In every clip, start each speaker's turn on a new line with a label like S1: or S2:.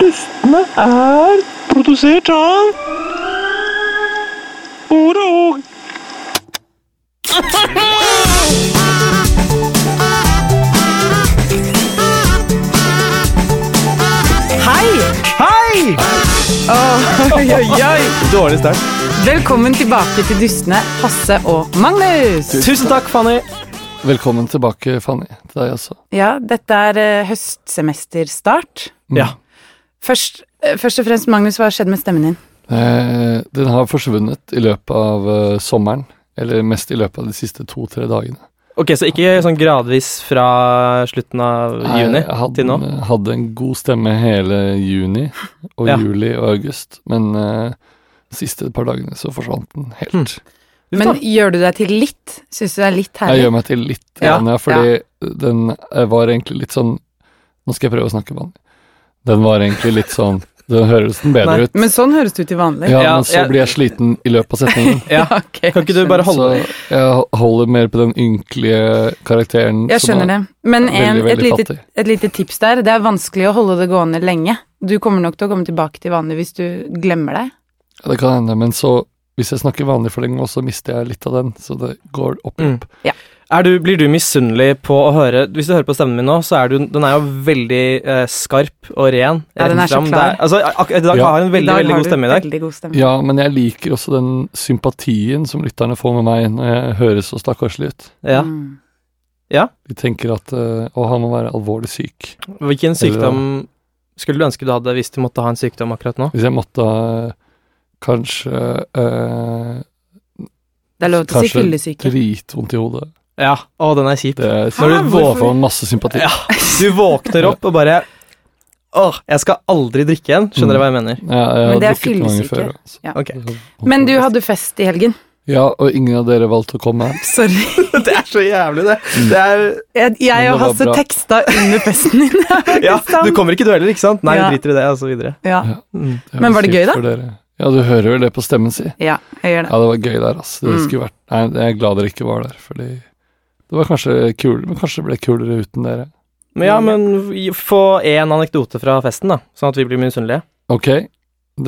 S1: Listene er produsert av Ordet og
S2: Hei!
S1: Hei!
S2: Oi, oi, oi.
S3: Dårlig start.
S2: Velkommen tilbake til Dustene, Hasse og Magnus.
S3: Tusen takk, Fanny.
S4: Velkommen tilbake, Fanny. Til deg også.
S2: Ja, dette er eh, høstsemesterstart.
S4: Mm.
S3: Ja.
S2: Først, eh, først og fremst, Magnus, hva har skjedd med stemmen din?
S4: Eh, den har forsvunnet i løpet av eh, sommeren. Eller mest i løpet av de siste to-tre dagene.
S3: Ok, så ikke sånn gradvis fra slutten av juni
S4: jeg hadde,
S3: til nå?
S4: hadde en god stemme hele juni og
S3: Ja.
S4: juli og august, men eh, de siste par dagene så forsvant den
S3: Hmm.
S4: helt.
S2: Men gjør du deg til litt? Syns du det er litt
S4: Jeg
S2: herlig?
S4: gjør meg til litt,
S3: Ja,
S4: grann, ja, fordi den eh, var egentlig litt sånn Nå skal jeg prøve å snakke vanlig. Den var egentlig litt sånn Den høres den bedre
S3: Nei.
S4: ut.
S2: Men sånn høres det ut til vanlig.
S4: Ja,
S3: Ja,
S4: men så
S3: jeg-
S4: blir jeg sliten i løpet av setningen.
S3: Ja.
S2: ok.
S3: Kan ikke du bare holde
S4: Så jeg holder mer på den ynkelige karakteren.
S2: Jeg skjønner det. Men
S4: veldig,
S2: en, et,
S4: veldig
S2: lite,
S4: fattig.
S2: et lite tips der. Det er vanskelig å holde det gående lenge. Du kommer nok til å komme tilbake til vanlig hvis du glemmer deg.
S4: Ja, det kan hende, men så hvis jeg snakker vanlig for lenge, så mister jeg litt av den. Så det går opp.
S3: Mm. Er du, blir du misunnelig på å høre Hvis du hører på stemmen min nå, så er du Den er jo veldig eh, skarp og ren.
S2: Ja, den er
S3: rett
S2: så
S3: fram.
S2: klar.
S3: Det er- Altså, ak I dag
S4: Ja.
S3: har jeg en
S2: I
S3: veldig,
S2: dag
S3: veldig
S2: har
S3: god
S2: du
S3: stemme i dag.
S2: Veldig god stemme.
S4: Ja, men jeg liker også den sympatien som lytterne får med meg når jeg høres så stakkarslig ut.
S3: Ja.
S2: Mm.
S4: De tenker at eh, å, han må være alvorlig syk.
S3: Hvilken
S4: Eller-
S3: sykdom skulle du ønske du hadde hvis du måtte ha en sykdom akkurat nå?
S4: Hvis jeg måtte eh, kanskje eh,
S2: Det er lov til å si
S4: Kanskje
S2: fyllesyke.
S4: dritvondt i hodet
S3: Ja. Å, den er kjip.
S4: Det er
S2: Hæ,
S4: Når du
S2: hvorfor?
S4: får masse sympati.
S3: Ja. Du våkner opp og bare Åh, jeg skal aldri drikke igjen. Skjønner du hva jeg mener?
S4: Ja, jeg
S2: Men
S4: har
S2: det er
S4: drukket mange
S2: fyllesyke.
S4: før. altså.
S2: Ja.
S3: Ok.
S2: Men du hadde fest i helgen.
S4: Ja, og ingen av dere valgte å komme.
S2: Sorry.
S3: Det er så jævlig, det. Det er
S2: Jeg, jeg og
S4: Det var
S2: Hasse
S4: bra.
S2: teksta under festen din.
S3: Ja,
S2: sant.
S3: du kommer ikke du heller, ikke sant? Nei,
S2: liksom. Ja.
S3: vi driter i det, og så videre.
S2: ja.
S3: Mm.
S4: Det er
S2: Men
S4: vel
S2: var det
S4: kjipt
S2: gøy, da?
S4: for dere. Ja, du hører vel det på stemmen si.
S2: ja, jeg gjør det.
S4: Ja, det var gøy der, ass. Det
S2: Mm.
S4: skulle vært Nei, jeg er glad dere ikke var der, fordi det var kanskje kulere, men kanskje det ble kulere uten dere.
S3: Men ja, men vi- få én anekdote fra festen, da, sånn at vi blir misunnelige.
S4: Ok, det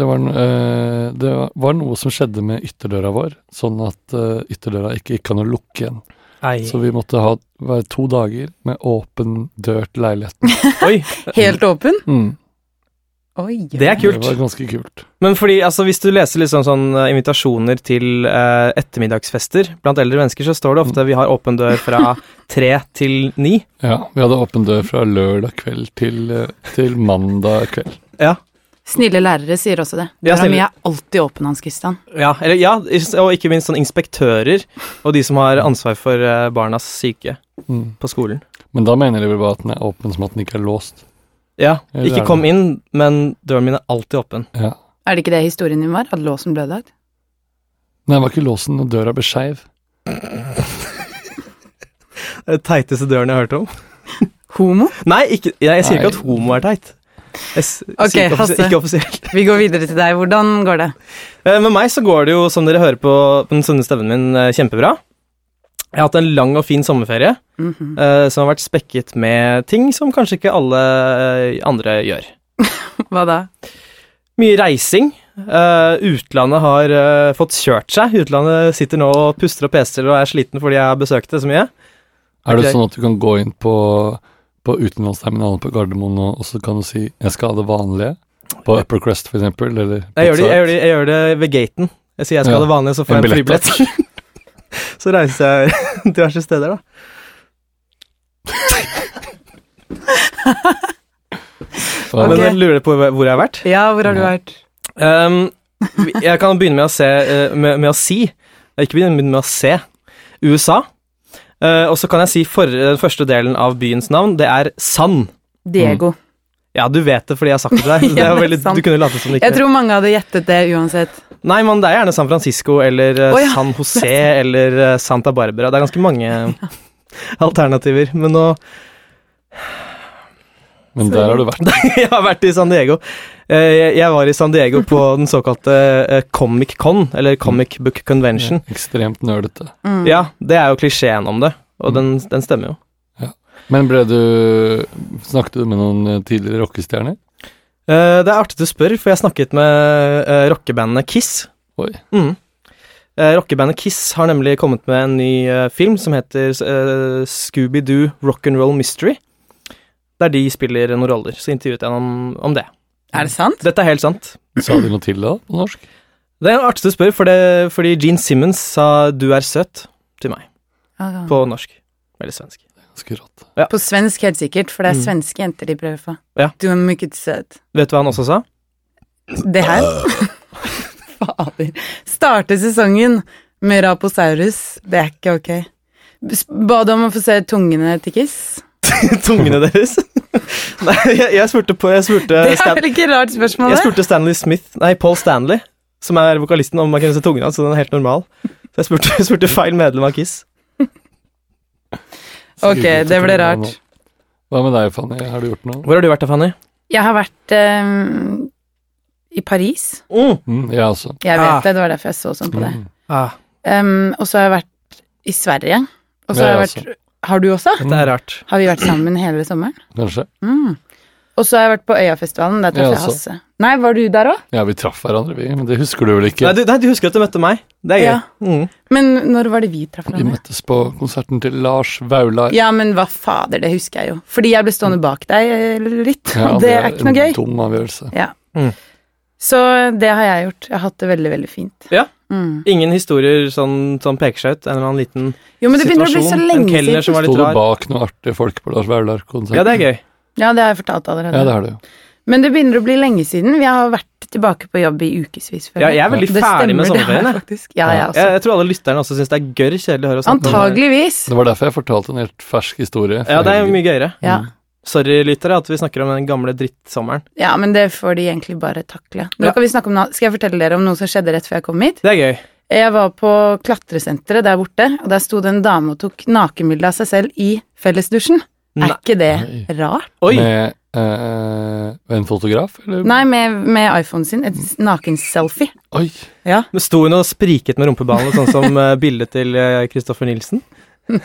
S4: var, n- eh, det var noe som skjedde med ytterdøra vår, sånn at eh, ytterdøra ikke gikk an å lukke igjen. Så
S3: Så-
S4: vi måtte ha være to dager med åpen dør til leiligheten.
S3: Oi,
S2: Helt åpen?
S4: Mm.
S2: Oi.
S3: det er
S4: Det var
S3: kult.
S4: ganske kult.
S3: Men fordi, altså, hvis du leser liksom sånn eh, invitasjoner til eh, ettermiddagsfester blant eldre mennesker, så står det ofte vi har åpen dør fra tre til ni.
S4: Ja, vi hadde åpen dør fra lørdag kveld til, eh, til mandag kveld.
S3: Ja.
S2: Snille lærere sier også det.
S3: Ja,
S2: Døra mi
S3: snille.
S2: er alltid åpen, Hans Christian.
S3: Ja, eller, ja, is- og ikke minst sånn inspektører og de som har ansvar for eh, barnas syke
S4: Mm.
S3: på skolen.
S4: Men da mener de vel bare at den er åpen som at den ikke er låst.
S3: Ja,
S4: Eller er
S3: ikke
S4: det-
S3: kom inn, men døren min er alltid åpen.
S4: Ja.
S2: Er det ikke det historien din var? At låsen ble ødelagt?
S4: Nei, det var ikke låsen når døra ble skeiv.
S3: Det er Den teiteste døren jeg har hørt om.
S2: Homo?
S3: Nei, ikke, jeg, jeg sier ikke
S4: Nei.
S3: at homo er teit. Jeg, s-
S2: Ok,
S3: sier ikke,
S2: Hasse.
S3: offisi- ikke offisielt.
S2: Vi går videre til deg. Hvordan går det?
S3: Eh, Med meg så går det jo, som dere hører på på den sunne stemmen min, eh, kjempebra. Jeg har hatt en lang og fin sommerferie
S2: Mhm.
S3: eh, som har vært spekket med ting som kanskje ikke alle eh, andre gjør.
S2: Hva da?
S3: Mye reising. Eh, utlandet har eh, fått kjørt seg. Utlandet sitter nå og puster og peser og er sliten fordi jeg har besøkt det så mye.
S4: Er det
S3: Ok.
S4: sånn at du kan gå inn på, på utenlandsterminalen på Gardermoen nå, og så kan du si 'jeg skal ha det vanlige'? På Upper Crest, for eksempel? Eller
S3: Jeg gjør det,
S4: Pizza
S3: jeg gjør det, jeg gjør det ved gaten. Jeg sier jeg skal
S4: Ja.
S3: ha det vanlige, så får
S4: En
S3: jeg en
S4: billett,
S3: flybillett. så reiser jeg diverse steder, da.
S4: Hut? Og-
S2: Ok.
S3: Men jeg lurer på hvor jeg har vært.
S2: Ja, hvor har du vært?
S3: Um, jeg kan begynne med å, se, eh, med, med å si Jeg Ikke begynne med å se USA. Eh, og så kan jeg si for, eh, første delen av byens navn. Det er Sand.
S2: Diego.
S3: Ja, du vet det fordi jeg har sagt det til deg. Det er
S2: Ja, det er
S3: veldig,
S2: sant.
S3: du kunne late som det ikke
S2: Jeg tror mange hadde gjettet det uansett.
S3: Nei, men det er gjerne San Francisco eller eh,
S2: Å, ja.
S3: San José eller eh, Santa Barbara. Det er ganske mange eh, alternativer. Men nå
S4: Men der har du vært.
S3: Jeg har vært i San Diego. Eh, Jeg jeg var i San Diego på den såkalte eh, Comic Con, eller Comic Book Convention.
S4: Ekstremt nerdete.
S2: Mm.
S3: Ja, det er jo klisjeen om det, og
S4: Mm.
S3: den, den stemmer jo.
S4: Men ble du Snakket du med noen eh, tidligere rockestjerner?
S3: Eh, det er artig du spør, for jeg snakket med uh, rockebandet Kiss.
S4: Oi.
S3: Mm. Eh, rockebandet Kiss har nemlig kommet med en ny eh, film som heter eh, Scooby-Doo Rock'n'Roll Mystery. Der de spiller noen roller. Så intervjuet jeg ham om, om det.
S2: Er det sant?
S3: Dette er helt sant.
S4: Sa de noe til det da, på norsk?
S3: Det er artig du spør, for det, fordi Gene Simmons sa 'du er søt' til meg
S2: På,
S3: på norsk. Eller svensk.
S4: Ganske rått.
S2: på svensk helt sikkert, for det er
S3: Mm.
S2: svenske jenter de prøver på.
S3: Ja.
S2: Du er mykket søt.
S3: Vet du hva han også sa?
S2: Det her
S4: Eh.
S2: Fader. Starte sesongen med Raposaurus. Det er ikke ok. Bes- Ba du om å få se tungene til Kiss?
S3: Tungene deres. Nei, jeg, jeg spurte på Jeg
S4: Eh,
S3: spurte
S2: Det er
S3: Stan,
S2: vel ikke et rart spørsmål,
S3: jeg
S2: det?
S3: spurte Stanley Smith Nei, Paul Stanley, som er vokalisten, om man kunne se tungen hans, så den er helt normal. Så jeg spurte, jeg spurte feil medlem av Kiss.
S2: Ok, det ble rart.
S4: Hva med deg, Fanny? Har du gjort noe?
S3: Hvor har du vært da, Fanny?
S2: Jeg har vært eh, i Paris.
S3: Mm.
S4: Mm, jeg også.
S2: Jeg
S3: Ah.
S2: vet det, det var derfor jeg så sånn på det.
S4: Mm.
S3: Ah,
S2: Um, og så har jeg vært i Sverige. Og så
S4: Ja,
S2: har jeg
S4: jeg
S2: vært Har du også?
S3: dette er rart.
S2: Har vi vært sammen hele sommeren?
S4: Kanskje.
S2: Mm. Og så har jeg vært på Øyafestivalen. Der traff
S4: Jeg
S2: jeg
S4: også.
S2: Hasse. Nei, var du der òg?
S4: Ja, vi traff hverandre, vi. Men det husker du vel ikke?
S3: Nei du, nei, du husker at du møtte meg? Det er gøy.
S2: Ja.
S3: Mm.
S2: Men når var det vi traff
S4: Vi
S2: hverandre?
S4: møttes på konserten til Lars Vaular.
S2: Ja, men hva fader, det husker jeg jo. Fordi jeg ble stående bak deg eh, litt, og det er ikke noe
S4: En
S2: gøy.
S4: dum avgjørelse.
S3: Mm.
S2: Så det har jeg gjort. Jeg har hatt det veldig, veldig fint.
S3: Ja.
S2: Mm.
S3: Ingen historier sånn, som peker seg ut? En eller annen liten
S2: Jo, men det begynner å bli så
S3: situasjon? En
S2: lenge
S3: kelner som
S2: siden.
S3: var
S4: Sto
S3: litt
S4: du
S3: rar?
S4: bak noen artige folk på Lars Vaular-konserten?
S3: Ja, det er gøy.
S2: Ja, det har jeg fortalt allerede.
S4: Ja, det har du. jo.
S2: Men det begynner å bli lenge siden. Vi har vært tilbake på jobb i ukevis.
S3: Ja, jeg er veldig
S2: Det
S3: ferdig med
S2: stemmer, det har
S3: sommerferien. jeg.
S2: faktisk. Ja, altså. jeg også.
S3: Jeg, jeg tror alle lytterne også syns det er gørr kjedelig å høre oss snakke om det.
S2: Antageligvis.
S4: Det var derfor jeg fortalte en helt fersk historie. fra
S3: Ja, det er
S4: helgen.
S3: mye gøyere.
S2: Ja.
S3: Sorry, lyttere, at vi snakker om den gamle drittsommeren.
S2: ja, men det får de egentlig bare takle. Nå
S3: Ja.
S2: kan vi snakke om noe. Skal jeg fortelle dere om noe som skjedde rett før jeg kom hit?
S3: Det er gøy.
S2: Jeg var på klatresenteret der borte, og der sto det en dame og tok nakenbilde av seg selv i fellesdusjen. Er
S3: Nei.
S2: ikke det
S4: Nei.
S2: rart?
S3: Oi!
S4: Med eh, en fotograf, eller?
S2: Nei, med, med iPhonen sin. Et nakenselfie.
S4: Oi!
S2: Ja.
S3: Men Sto hun og spriket med rumpeballen, sånn som eh, bildet til eh, Kristoffer Nilsen? Nei.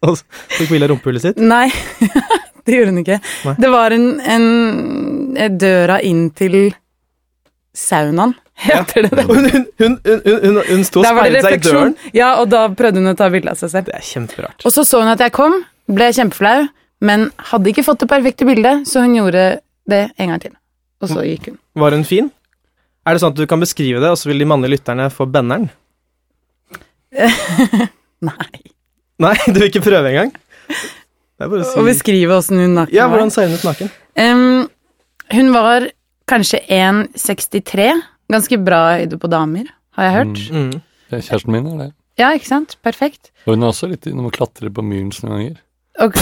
S3: og tok bilde av rumpehullet sitt?
S2: Nei, det gjorde hun ikke.
S3: Nei.
S2: Det var en, en døra inn til saunaen, heter det det.
S3: Hun, hun, hun, hun, hun, hun sto og
S2: Der var det
S3: speilet seg i døren.
S2: refleksjon. Ja, og da prøvde hun å ta bilde av seg selv.
S3: Det er kjemperart.
S2: Og så så hun at jeg kom, ble kjempeflau, men hadde ikke fått det perfekte bildet, så hun gjorde det en gang til. Og så gikk hun.
S3: Var hun fin? Er det sånn at du kan beskrive det, og så vil de mannlige lytterne få benneren?
S2: Nei.
S3: Nei, du vil ikke prøve engang? Det er bare
S2: Og
S3: å si
S2: beskrive åssen hun naken
S3: Ja,
S2: var.
S3: hvordan ser hun ut naken?
S2: Em, hun var kanskje 1,63. Ganske bra høyde på damer, har jeg hørt.
S4: Mm.
S3: Mm.
S4: Det er kjæresten min, er det.
S2: Ja, ikke sant? Perfekt.
S4: Og hun er også litt innom å klatre på Myrens noen ganger.
S2: Ok.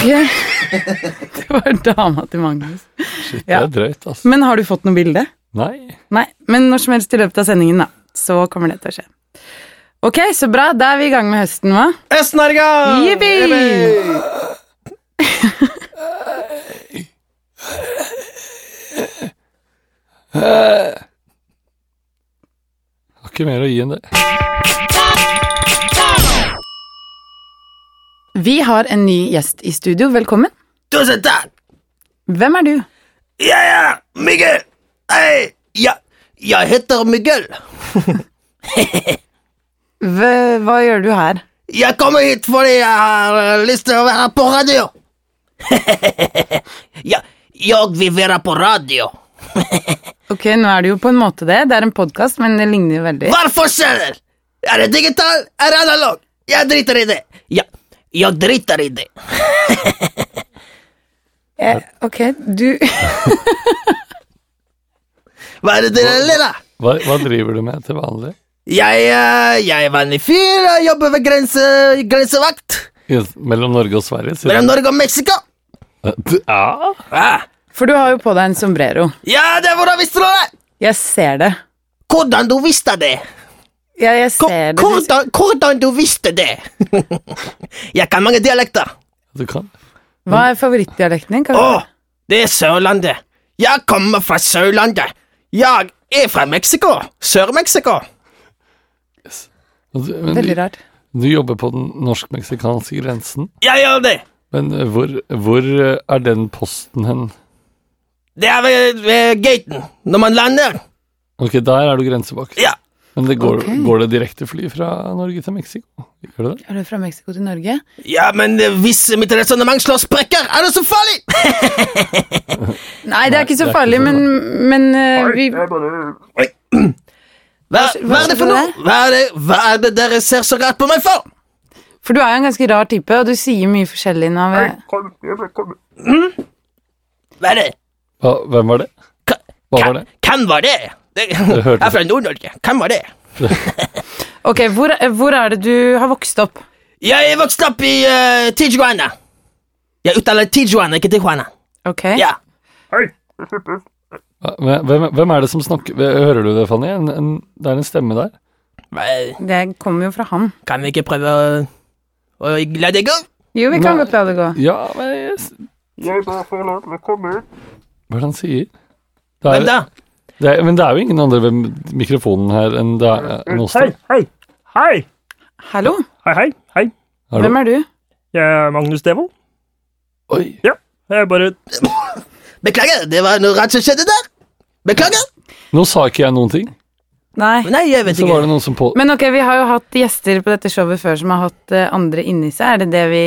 S2: det var dama til Magnus.
S4: Shit,
S2: Ja.
S4: det er drøyt, altså.
S2: Men har du fått noe bilde?
S4: Nei.
S2: Nei, men når som helst i løpet av sendingen, da. Så kommer det til å skje. Ok, så bra. Da er vi i gang med høsten, hva?
S3: Øst-Norge!
S2: Jippi!
S4: Har ikke mer å gi enn det.
S2: Vi har en ny gjest i studio. Velkommen.
S5: Tusen takk!
S2: Hvem er du?
S5: Jeg er Miguel! Hei! Jeg, jeg heter Miguel.
S2: Hva, hva gjør du her?
S5: Jeg kommer hit fordi jeg har eh, lyst til å være på radio. jeg, jeg vil være på radio.
S2: Ok, nå er det jo på en måte det. Det er en podkast, men det ligner jo veldig.
S5: Hva er forskjellen? Er det digital? Er det analog? Jeg driter i det. Jeg, jeg driter i det.
S2: Eh, ok, du
S5: Hva er det dere ler av?
S4: Hva, hva driver du med til vanlig?
S5: Jeg, eh, jeg er vanlig fyr. Jeg jobber ved grense, grensevakt
S4: I, mellom Norge og Sverige, sier
S5: mellom Norge og Mexico.
S4: du. Ja.
S5: Ah.
S2: For du har jo på deg en sombrero.
S5: Ja, det er hvordan visste du det?
S2: Jeg ser det.
S5: Hvordan du visste det?
S2: Ja, jeg
S5: Ko-
S2: ser det. Du-
S5: Hvordan, hvordan du visste det? jeg kan mange dialekter.
S4: Du kan.
S2: Hva er favorittdialekten din? Kan
S5: Å,
S2: vi-
S5: det er Sørlandet. Jeg kommer fra Sørlandet. Jeg er fra Mexico. Sør-Mexico.
S4: Men Du, Altså, men
S2: Veldig
S4: du,
S2: rart.
S4: du jobber på den norsk-meksikanske grensen.
S5: Jeg gjør det.
S4: Men eh, hvor, hvor eh, er den posten hen?
S5: Det er ved, ved gaten, når man lander.
S4: Ok, der er du grensevakt.
S5: Ja.
S4: Men det går,
S2: Ok.
S4: går det direktefly fra Norge til Mexico? Gjør det det?
S2: Er du fra Mexico til Norge?
S5: Ja, men eh, hvis mitt resonnement slår sprekker, er det så farlig!
S2: Nei, det er ikke så
S4: det er ikke
S2: farlig,
S4: så
S2: men, men eh, vi
S5: Hva, hva er det for
S2: skjedde
S5: noe? Hva er det, hva er det dere ser så rart på meg for?
S2: For du er jo en ganske rar type, og du sier mye forskjellig nå.
S5: Hva er det?
S4: Hva, hvem var det?
S5: Hva,
S4: Hva var det?
S5: Hvem var det? det jeg
S4: hørte
S5: er fra Nord-Norge. Hvem var det?
S2: Ok, hvor, hvor er det du har vokst opp?
S5: Jeg vokste opp i uh, Tijuana. Jeg uttaler Tijuana, ikke Tijuana.
S2: Ok?
S5: Ja.
S4: Hva- Hvem, hvem er det som snakker Hører du det, Fanny? En, en, det er en stemme der.
S5: Hva-
S2: Det kommer jo fra han.
S5: Eh, Kan vi ikke prøve å, å la det gå?
S2: Jo, vi kan
S4: Nei.
S2: godt la det gå.
S4: Ja, men jeg s- Hva er det han sier? Det
S5: Hvem
S4: er,
S5: da?
S4: det er, men det er jo ingen andre ved mikrofonen her enn det er eh, enn oss.
S1: Hei,
S4: da.
S1: hei. Hei.
S2: Hallo,
S1: Hei, hei. Hei.
S4: Hallo?
S2: hvem er du?
S1: Jeg er Magnus Devold.
S4: Oi.
S1: Jeg bare
S5: Beklager, det var noe rart som skjedde der. Beklager.
S4: Nå sa ikke jeg noen ting.
S2: Nei.
S5: Nei, jeg vet
S4: Så var
S5: ikke.
S4: det noen som på...
S2: Men ok, vi har jo hatt gjester på dette showet før som har hatt eh, andre inni seg. Er det det vi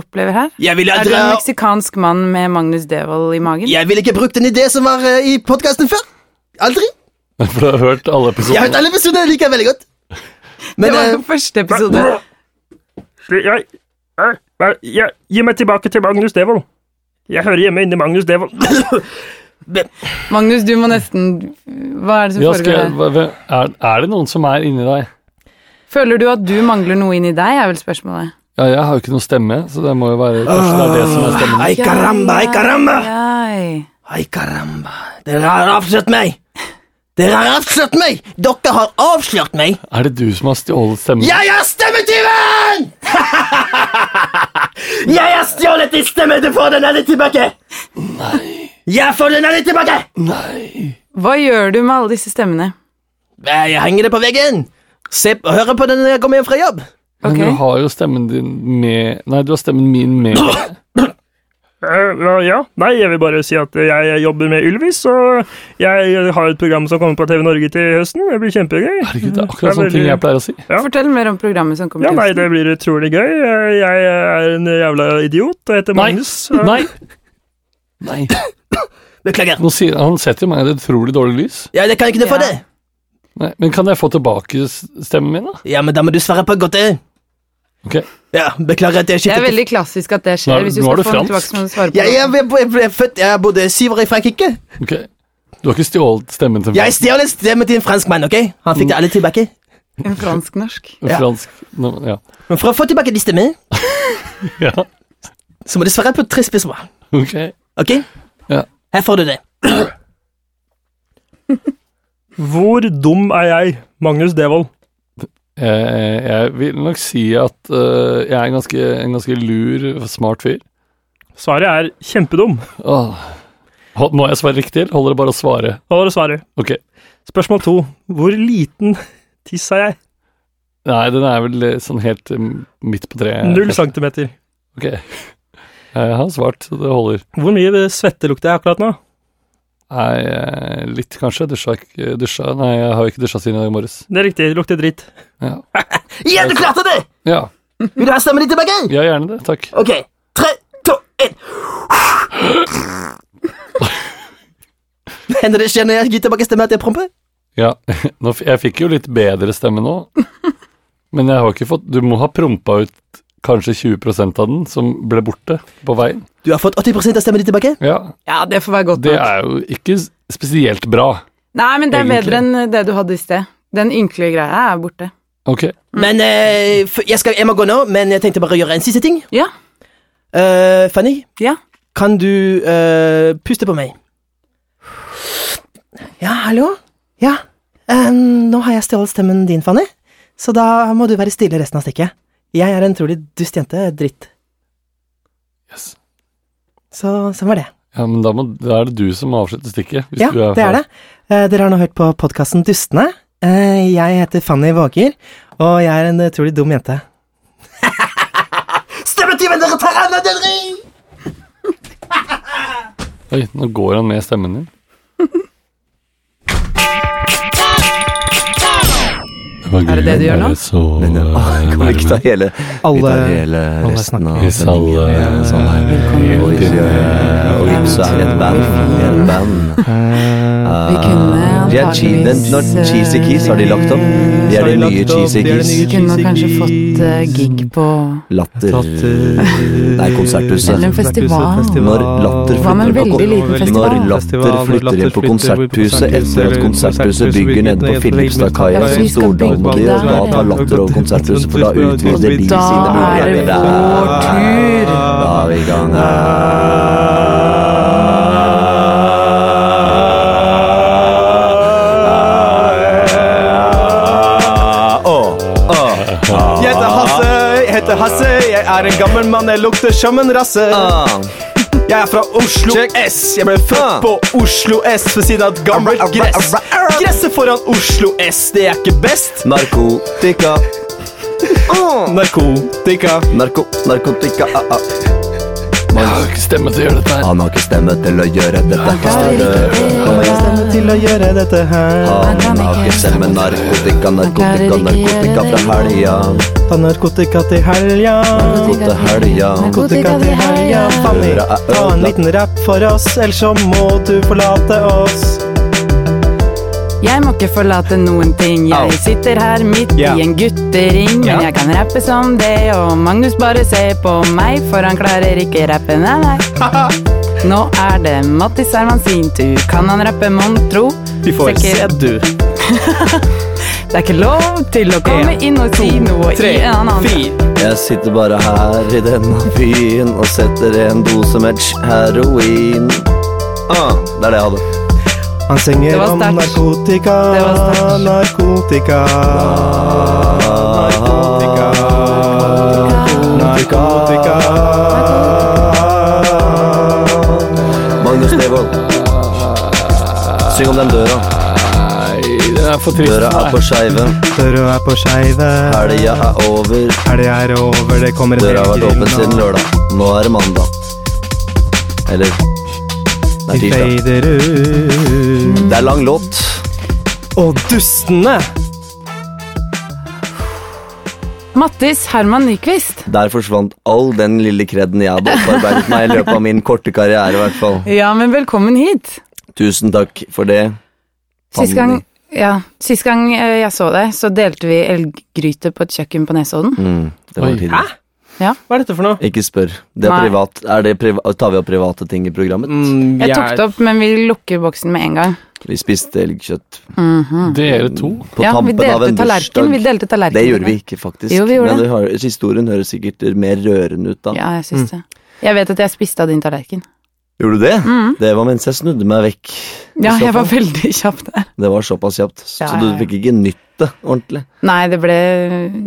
S2: opplever her?
S5: Jeg ville
S2: Er du
S5: aldri
S2: en
S5: ha
S2: meksikansk mann med Magnus Devold i magen?
S5: Jeg ville ikke brukt en idé som var eh, i podkasten før. Aldri.
S4: For du har hørt alle
S5: Jeg har hørt
S4: episodene.
S5: alle episoder, jeg liker jeg veldig godt.
S2: det
S5: Men
S2: var
S5: eh,
S2: jo første episode.
S1: Sli- Jeg, jeg, jeg, jeg Gi meg tilbake til Magnus Devold. Jeg hører hjemme inni Magnus Devold.
S2: Magnus, du må nesten Hva er det som
S4: Ja, skal
S2: foregår
S4: jeg,
S2: her?
S4: hva- hvem- er, er det noen som er inni deg?
S2: Føler du at du mangler noe inni deg, er vel spørsmålet.
S4: Ja, jeg har jo ikke noe stemme, så det må jo være Kanskje det er det som er stemmen.
S5: Ai, caramba, ai, caramba.
S2: Ai.
S5: Ai, caramba. Dere har avslørt meg. Dere har avslørt meg. Dere har avslørt meg.
S4: Er det du som har stjålet stemmen?
S5: Jeg er stemmetyven! jeg har stjålet din stemme. Du får den aldri tilbake. Nei. Jeg får den aldri tilbake.
S4: Nei!
S2: Hva gjør du med alle disse stemmene?
S5: Nei, Eh, Jeg henger det på veggen. Se, hør på den når jeg kommer hjem fra jobb.
S4: Men
S2: Ok.
S4: du har jo stemmen din med Nei, du har stemmen min med
S1: Eh, ja, nei, jeg vil bare si at jeg jobber med Ylvis, og jeg har et program som kommer på TV Norge til høsten. Det blir kjempegøy.
S4: Herregud, det er akkurat sånne ting jeg pleier å si.
S1: Ja.
S2: Fortell mer om programmet som kommer
S1: Ja,
S2: til
S1: nei,
S2: høsten.
S1: det blir utrolig gøy. Eh, Jeg er en jævla idiot og heter
S4: Nei.
S1: Magnus. Eh,
S4: Nei! Nei.
S5: Beklager.
S4: Nå sier, han setter jo meg i et utrolig dårlig lys.
S5: Ja, det kan ikke du få
S2: Ja.
S5: det.
S4: Nei, men kan jeg få tilbake s- stemmen min, da?
S5: Ja, men da må du svare på godt det.
S4: Ok.
S5: Ja, beklager at jeg
S2: Det er
S5: skiftet.
S2: veldig klassisk at det
S4: Nå
S2: skjer.
S4: er-
S2: Hvis du
S4: nå er
S2: skal
S4: du
S2: få noe
S4: fransk.
S2: tilbake, så må du svare på
S5: Jeg,
S2: det.
S5: jeg, jeg, jeg ble født, jeg bodde syv år i Frankrike.
S4: ok. Du har ikke stjålet stemmen til
S5: Jeg stjal en stemme til en fransk mann, ok? Han fikk det alle tilbake.
S2: En fransk-norsk.
S4: en
S5: ja.
S4: fransk Nå, ja.
S5: Men for å få tilbake de stemmer,
S4: ja.
S5: så må du svare på tre spørsmål,
S4: Ok.
S5: ok?
S4: Ja.
S5: Her får du det.
S1: Hvor dum er jeg, Magnus Devold?
S4: Jeg, Eh, jeg vil nok si at øh, jeg er en ganske, en ganske lur, smart fyr.
S1: Svaret er kjempedum.
S4: Åh. Hold- Må jeg svare riktig, eller holder det bare å svare?
S1: Da var det svaret.
S4: Ok.
S1: Spørsmål to. Hvor liten tiss er jeg?
S4: Nei, den er vel eh, sånn helt mm, midt på treet.
S1: Null centimeter.
S4: Ok. Jeg har svart, så det holder.
S1: Hvor mye svette lukter jeg akkurat nå?
S4: Nei, eh, litt kanskje. Dusja ikke dusja. Nei, jeg har jo ikke dusja siden i dag morges.
S1: Det er riktig, det lukter dritt.
S4: Ja.
S5: Ja, du klarte det!
S4: ja.
S5: Vil du ha stemmen din tilbake?
S4: Ja, gjerne det. Takk.
S5: Ok, tre, to, en. Hender det skjer når jeg gir tilbake stemmen at jeg promper?
S4: Ja. Nå, f- jeg fikk jo litt bedre stemme nå, men jeg har ikke fått Du må ha prompa ut kanskje 20 av den som ble borte på veien.
S5: Du har fått 80% av stemmen din tilbake?
S4: Ja,
S2: Ja, det får være godt
S4: det
S2: nok.
S4: er jo ikke s- spesielt bra.
S2: Nei, men det er
S4: Egentlig.
S2: bedre enn det du hadde i sted. Den ynkelige greia er borte.
S4: Ok.
S5: Men, eh, f- jeg, skal, jeg må gå nå, men jeg tenkte bare å gjøre en siste ting.
S2: Ja.
S5: Eh, Fanny,
S2: Ja.
S5: kan du eh, puste på meg? Ja, hallo? Ja, eh, nå har jeg stjålet stemmen din, Fanny. Så da må du være stille resten av stikket. Jeg er en trolig dust jente, dritt.
S4: Yes.
S5: Så sånn var det.
S4: Ja, men da, må, da er det du som avslutter stikket. hvis
S5: Ja,
S4: du
S5: det er det. Eh, dere har nå hørt på podkasten Dustene. Eh, jeg heter Fanny Våger, og jeg er en utrolig dum jente. Stemmetyven, dere tar av dere!
S4: Oi, nå går han med stemmen din.
S2: Er det det du gjør nå? øh, ah,
S4: Så,
S6: Men jeg
S3: Ah,
S6: jeg kan ikke ta hele, vi
S3: Alle
S6: tar hele
S3: alle
S6: resten
S3: snakker.
S6: av
S4: Hvis alle
S6: sendingen, ja, sånn her. Og hvis jeg- og Vips er et band. Et band.
S5: Eh,
S2: Vi kunne
S6: Ah, de er cheesy, den,
S2: antageligvis, eh,
S6: når Cheesy Keys har de lagt opp. De er
S3: Så har
S6: de
S3: de lagt
S6: nye
S3: opp, de
S6: Cheesy
S3: er de
S6: Keys.
S2: Vi kunne kanskje fått eh, gig på
S6: Latter
S3: Latter.
S6: Nei, konserthuset.
S2: Eller en festival.
S6: Når latter
S2: Hva med en
S6: flytter
S2: veldig liten festival?
S6: Når latter flytter inn på konserthuset etter at konserthuset bygger nede på Filipstadkaia
S2: Ja,
S6: som
S2: vi skal
S6: Stordanker,
S2: bygge
S6: og da
S2: der.
S6: tar latter over konserthuset, for da utvider de
S2: Da
S6: sine
S2: er det
S6: muligheter.
S2: vår tur.
S6: Da er vi i gang.
S3: Jeg heter Hasse, jeg heter Hasse, jeg er en gammel mann, jeg lukter som en rasse.
S6: Ah.
S3: Jeg er fra Oslo S, jeg ble født på Oslo S ved siden av et gammelt gress. Gresset foran Oslo S, det er ikke best.
S6: Narkotika,
S3: Narkotika.
S6: narko, narkotika ah, ah.
S4: Jeg har ikke stemme til å gjøre dette her.
S6: Han har ikke stemme til å gjøre dette her.
S3: stemme til å gjøre dette her.
S6: Han har ikke stemme narkotika, narkotika, narkotika fra helga.
S3: Ta narkotika til helga.
S6: Gå til helga.
S3: Narkotika til helga. Fanny, ta en liten rapp for oss, ellers så må du forlate oss.
S2: Jeg må ikke forlate noen ting.
S3: Au.
S2: Jeg sitter her midt
S3: Ja.
S2: i en guttering,
S3: Ja.
S2: men jeg kan rappe som det, og Magnus bare ser på meg, for han klarer ikke rappe, nei, nei. Nå er det Mattis Herman sin tur. Kan han rappe, mon tro?
S3: Vi får se,
S2: Sikker-
S3: du.
S2: Det er ikke lov til å komme
S3: En,
S2: inn og si noe i
S3: Tre,
S2: en annen
S3: fire.
S6: Jeg sitter bare her i denne byen og setter en dose med heroin. Ah, det er det jeg hadde.
S3: Han
S2: Det
S3: synger
S2: var
S3: om
S2: sterkt.
S3: narkotika,
S2: Det var sterkt.
S3: narkotika,
S6: Ah,
S3: narkotika, narkotika.
S6: Magnus Devold. Syng om den døra.
S4: Nei, det er for trist.
S6: Døra er på skeive.
S3: Døra er på skeive,
S6: Helga er over.
S3: helga er over, det kommer en
S6: Døra har vært
S3: helg
S6: åpen siden
S3: nå.
S6: lørdag. Nå er det mandag. Eller Det er
S3: Vi
S6: tirsdag.
S3: fader ut.
S6: Det er lang låt.
S3: Og dustene!
S2: Mattis Herman Nyquist.
S6: Der forsvant all den lille kreden jeg hadde opparbeidet meg i løpet av min korte karriere. I hvert fall.
S2: Ja, men velkommen hit.
S6: Tusen takk for det.
S2: Sist
S6: Fanny.
S2: gang, ja, sist gang eh, jeg så deg, så delte vi elggryte på et kjøkken på Nesodden.
S6: Mm, det var
S4: Oi.
S6: tidlig.
S3: Hva er dette for noe?
S6: Ikke spør. Det er
S2: Nei. Mm.
S6: privat. Er det priva tar vi opp private ting i programmet?
S2: Jeg tok det opp, men vi lukker boksen med en gang.
S6: Vi spiste elgkjøtt øh,
S4: Dere to.
S6: på
S2: ja, vi
S6: tampen av
S2: delte
S6: en
S2: tallerken.
S6: bursdag.
S2: Vi delte tallerken.
S6: Det gjorde vi ikke, faktisk.
S2: Jo, vi gjorde
S6: Men
S2: det.
S6: det har, historien høres sikkert mer rørende ut da.
S2: Ja, jeg syns det. Jeg vet at jeg spiste av din tallerken.
S6: Gjorde du det? Det var mens jeg snudde meg vekk. I
S2: Mm. Ja,
S6: så
S2: jeg var
S6: fall.
S2: veldig kjapp der.
S6: Det var såpass kjapt. Så
S2: Ja, ja,
S6: du
S2: ja.
S6: fikk ikke nytt det ordentlig.
S2: Nei, det ble,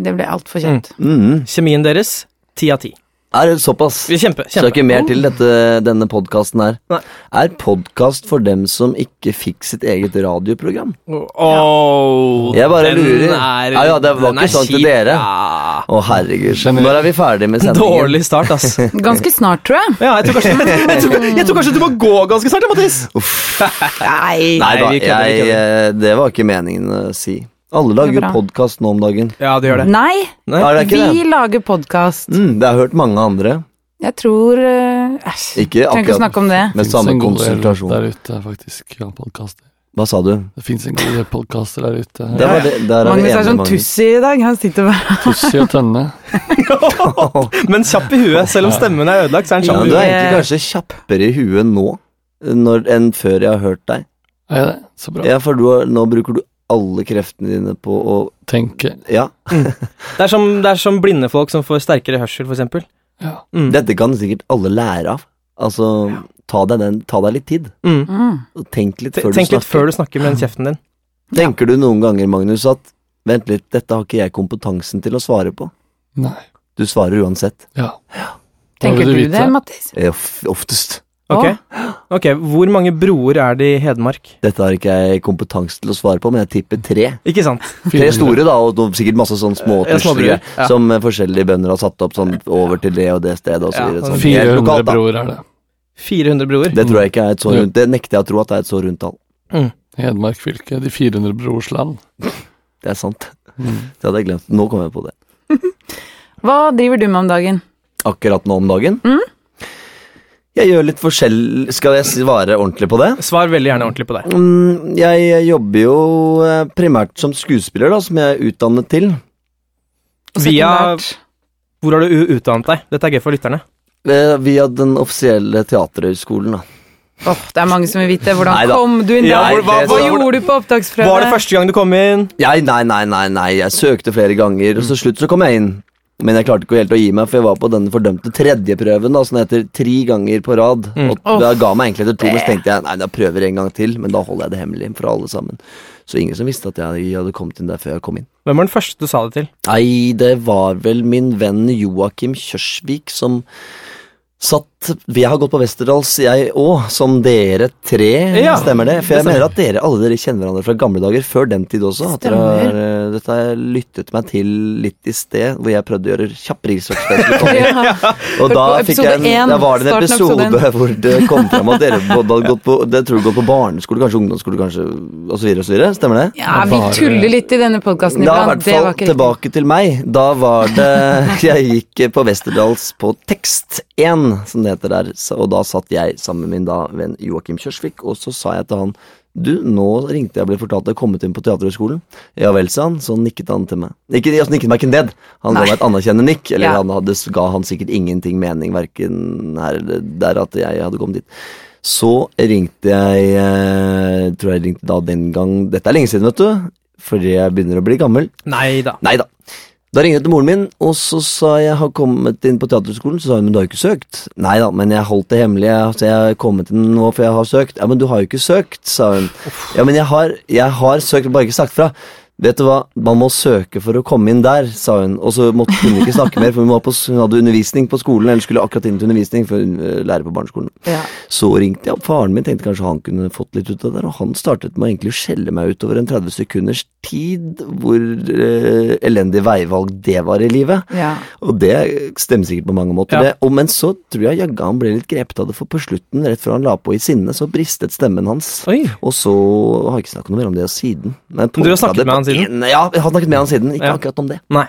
S2: det ble altfor kjapt.
S6: Mm.
S3: Kjemien deres, ti av ti.
S6: Er det såpass?
S3: Kjempe,
S6: Så det er ikke mer til dette, denne podkasten her.
S3: Nei.
S6: Er podkast for dem som ikke fikk sitt eget radioprogram?
S3: Åh,
S6: Jeg bare
S3: den
S6: lurer.
S3: er-
S6: Ja, ja, det var
S3: den
S6: ikke
S3: er
S6: sånn til
S3: kjip.
S6: dere.
S3: Ja.
S6: Å, herregud. Når er vi ferdig med sendingen?
S3: Dårlig start, ass.
S6: Mm.
S2: Ganske snart, tror jeg.
S3: Ja, jeg tror kanskje, jeg tror, jeg tror kanskje du må gå ganske snart, Mathis. nei,
S6: Nei da,
S3: vi kødder, vi
S6: jeg,
S3: kødder.
S6: eh, det var ikke meningen å si. Alle lager jo
S2: bra.
S6: podkast nå om dagen.
S3: Ja, du gjør det.
S2: Nei,
S3: Nei,
S6: er det ikke
S2: vi
S6: det?
S2: lager podkast.
S6: Mm, det har jeg hørt mange andre.
S2: Jeg tror eh, Æsj. Trenger
S6: Ikke
S2: ikke å
S6: akkurat
S2: snakke om det.
S6: med
S4: Finnes
S6: samme
S4: en god del
S6: konsentrasjon.
S4: Der ute, faktisk. Ja, podcaster.
S6: Hva sa du?
S4: Det fins en god del podkaster der ute.
S6: Det var det, der er vi
S2: Magnus
S6: enige,
S2: er sånn
S6: Magnus.
S2: tussi i dag. Han sitter bare
S4: Tussi og Tønne.
S3: Men kjapp i huet. Selv om stemmen er ødelagt, så er den
S6: Ja,
S3: kjapp.
S6: men
S3: i
S6: du
S3: huet.
S6: er egentlig kanskje kjappere i huet nå eh, når, enn før jeg har hørt deg.
S4: Er jeg det? Så bra.
S6: Ja, for du, har- nå bruker du alle kreftene dine på å
S4: Tenke.
S6: Ja,
S3: Det er, som, det er som blinde folk som får sterkere hørsel, for eksempel.
S4: Ja.
S3: Mm.
S6: dette kan sikkert alle lære av. Altså, ta deg, den, ta deg litt tid.
S3: Mm.
S2: mm.
S6: og Tenk litt
S3: Te-
S6: før du
S3: Tenk litt
S6: snakker.
S3: før du snakker med den kjeften din.
S6: Tenker du noen ganger, Magnus, at Vent litt, dette har ikke jeg kompetansen til å svare på.
S4: Nei.
S6: Du svarer uansett.
S4: Ja. Da vil
S2: Tenker du
S4: vite.
S2: det, Mattis?
S6: Eh, of- Oftest.
S3: Ok,
S2: Å.
S3: ok, Hvor mange broer er det i Hedmark?
S6: Dette har ikke jeg kompetanse til å svare på, men jeg tipper tre.
S3: Ikke sant?
S6: Tre store, da, og noe- sikkert masse sånne små
S3: Ja, småbrød,
S6: tusler
S3: ja.
S6: som eh, forskjellige bønder har satt opp sånn over til det og det stedet og så
S3: Ja,
S6: videre.
S3: sånn
S6: Helt
S4: 400
S6: lokalt, da.
S4: broer er det.
S3: 400 broer.
S6: Det tror jeg ikke er et
S3: Mm.
S6: så rundt Det nekter jeg å tro at det er et så rundt tall.
S4: Hedmark fylke, de 400 brors land.
S6: Det er sant. Det hadde jeg glemt. Nå kom jeg på det.
S2: Hva driver du med om dagen?
S6: Akkurat nå om dagen. Jeg gjør litt forskjell Skal jeg svare ordentlig på det?
S3: Svar veldig gjerne ordentlig på det.
S6: Mm, jeg jobber jo eh, primært som skuespiller, da, som jeg er utdannet til.
S3: Via-
S2: Sekundært.
S3: Hvor har du u- utdannet deg? Dette er gøy for lytterne.
S6: Eh, Via den offisielle teaterhøgskolen, da.
S2: Åh, det er mange som vil vite. Hvordan
S6: Neida.
S2: kom du inn der?
S6: Ja,
S2: hva,
S6: det- det-
S2: gjorde du på opptaksprøve?
S3: Var det første gang du kom inn?
S6: Jeg, nei, nei, nei, nei, jeg søkte flere ganger, og så slutt så kom jeg inn. Men jeg klarte ikke helt å gi meg, for jeg var på denne fordømte tredjeprøven, da, som det heter, tre ganger på rad. Og da ga meg egentlig etter to, men så tenkte jeg nei, da prøver jeg en gang til, men da holder jeg det hemmelig for alle sammen. Så ingen som visste at jeg hadde kommet inn der før jeg kom inn.
S3: Hvem var den første du sa det til?
S6: Nei, det var vel min venn Joakim Kjørsvik som satt Vi har gått på Westerdals, jeg òg, som dere tre.
S3: Ja,
S6: stemmer det? For
S3: det
S6: jeg
S3: stemmer.
S6: mener at dere alle dere kjenner hverandre fra gamle dager, før den tid også. At dere har, eh, dette har jeg lyttet meg til litt i sted, hvor jeg prøvde å gjøre kjapp research.
S2: Ja.
S6: Og da
S2: på
S6: fikk jeg
S2: episode én,
S6: en, da var det en
S2: starten av episode
S6: episode hvor det kom fram at dere både hadde gått på, det tror jeg gått på barneskole, kanskje ungdomsskole, kanskje osv. osv. Stemmer det?
S2: ja, vi tuller litt i denne podkasten
S6: Da, i
S2: iblant.
S6: hvert
S2: Det
S6: fall
S2: var ikke riktig.
S6: tilbake til meg. Da var det Jeg gikk på Westerdals på Tekst 1, som det heter der, så- og da satt jeg sammen med min da venn Joakim Kjørsvik, og så sa jeg til han du, nå ringte jeg og ble fortalt at jeg kom kommet inn på Teaterhøgskolen. Ja vel, sa han, så nikket han til meg. Ikke, altså, nikket meg ikke ned, han ga
S2: Nei.
S6: meg et anerkjennende nikk, eller
S2: Ja.
S6: han hadde, ga han sikkert ingenting mening, verken her eller der at jeg hadde kommet dit. Så ringte jeg eh, Tror jeg ringte da den gang Dette er lenge siden, vet du. Fordi jeg begynner å bli gammel.
S3: Nei da.
S6: Nei da. Da ringte jeg til moren min, og så sa jeg har kommet inn på teaterskolen. Så sa hun men du har jo ikke søkt. Nei da, men jeg holdt det hemmelig. jeg- Så jeg har kommet inn nå for jeg har søkt. Ja, men du har jo ikke søkt, sa hun. Ja, men jeg har, jeg har søkt, bare ikke sagt fra. Vet du hva, man må søke for å komme inn der, sa hun. Og så måtte hun ikke snakke mer, for hun, var på, hun hadde undervisning på skolen, eller skulle akkurat inn til undervisning for hun eh, lærer på barneskolen.
S2: Ja.
S6: Så ringte jeg opp faren min, tenkte kanskje han kunne fått litt ut av det der, og han startet med å egentlig skjelle meg ut over en 30 sekunders tid hvor eh, elendig veivalg det var i livet.
S2: Ja.
S6: Og det stemmer sikkert på mange måter,
S3: Ja.
S6: det. Og, men så tror jeg jaggu han ble litt grepet av det, for på slutten, rett før han la på i sinne, så bristet stemmen hans.
S3: Oi.
S6: Og så har jeg ikke snakket noe mer om det siden. Men
S3: Men du har snakket
S6: det på
S3: med han siden?
S6: en- Ja, jeg har snakket med han siden. Ikke
S3: Ja.
S6: akkurat om det.
S3: Nei.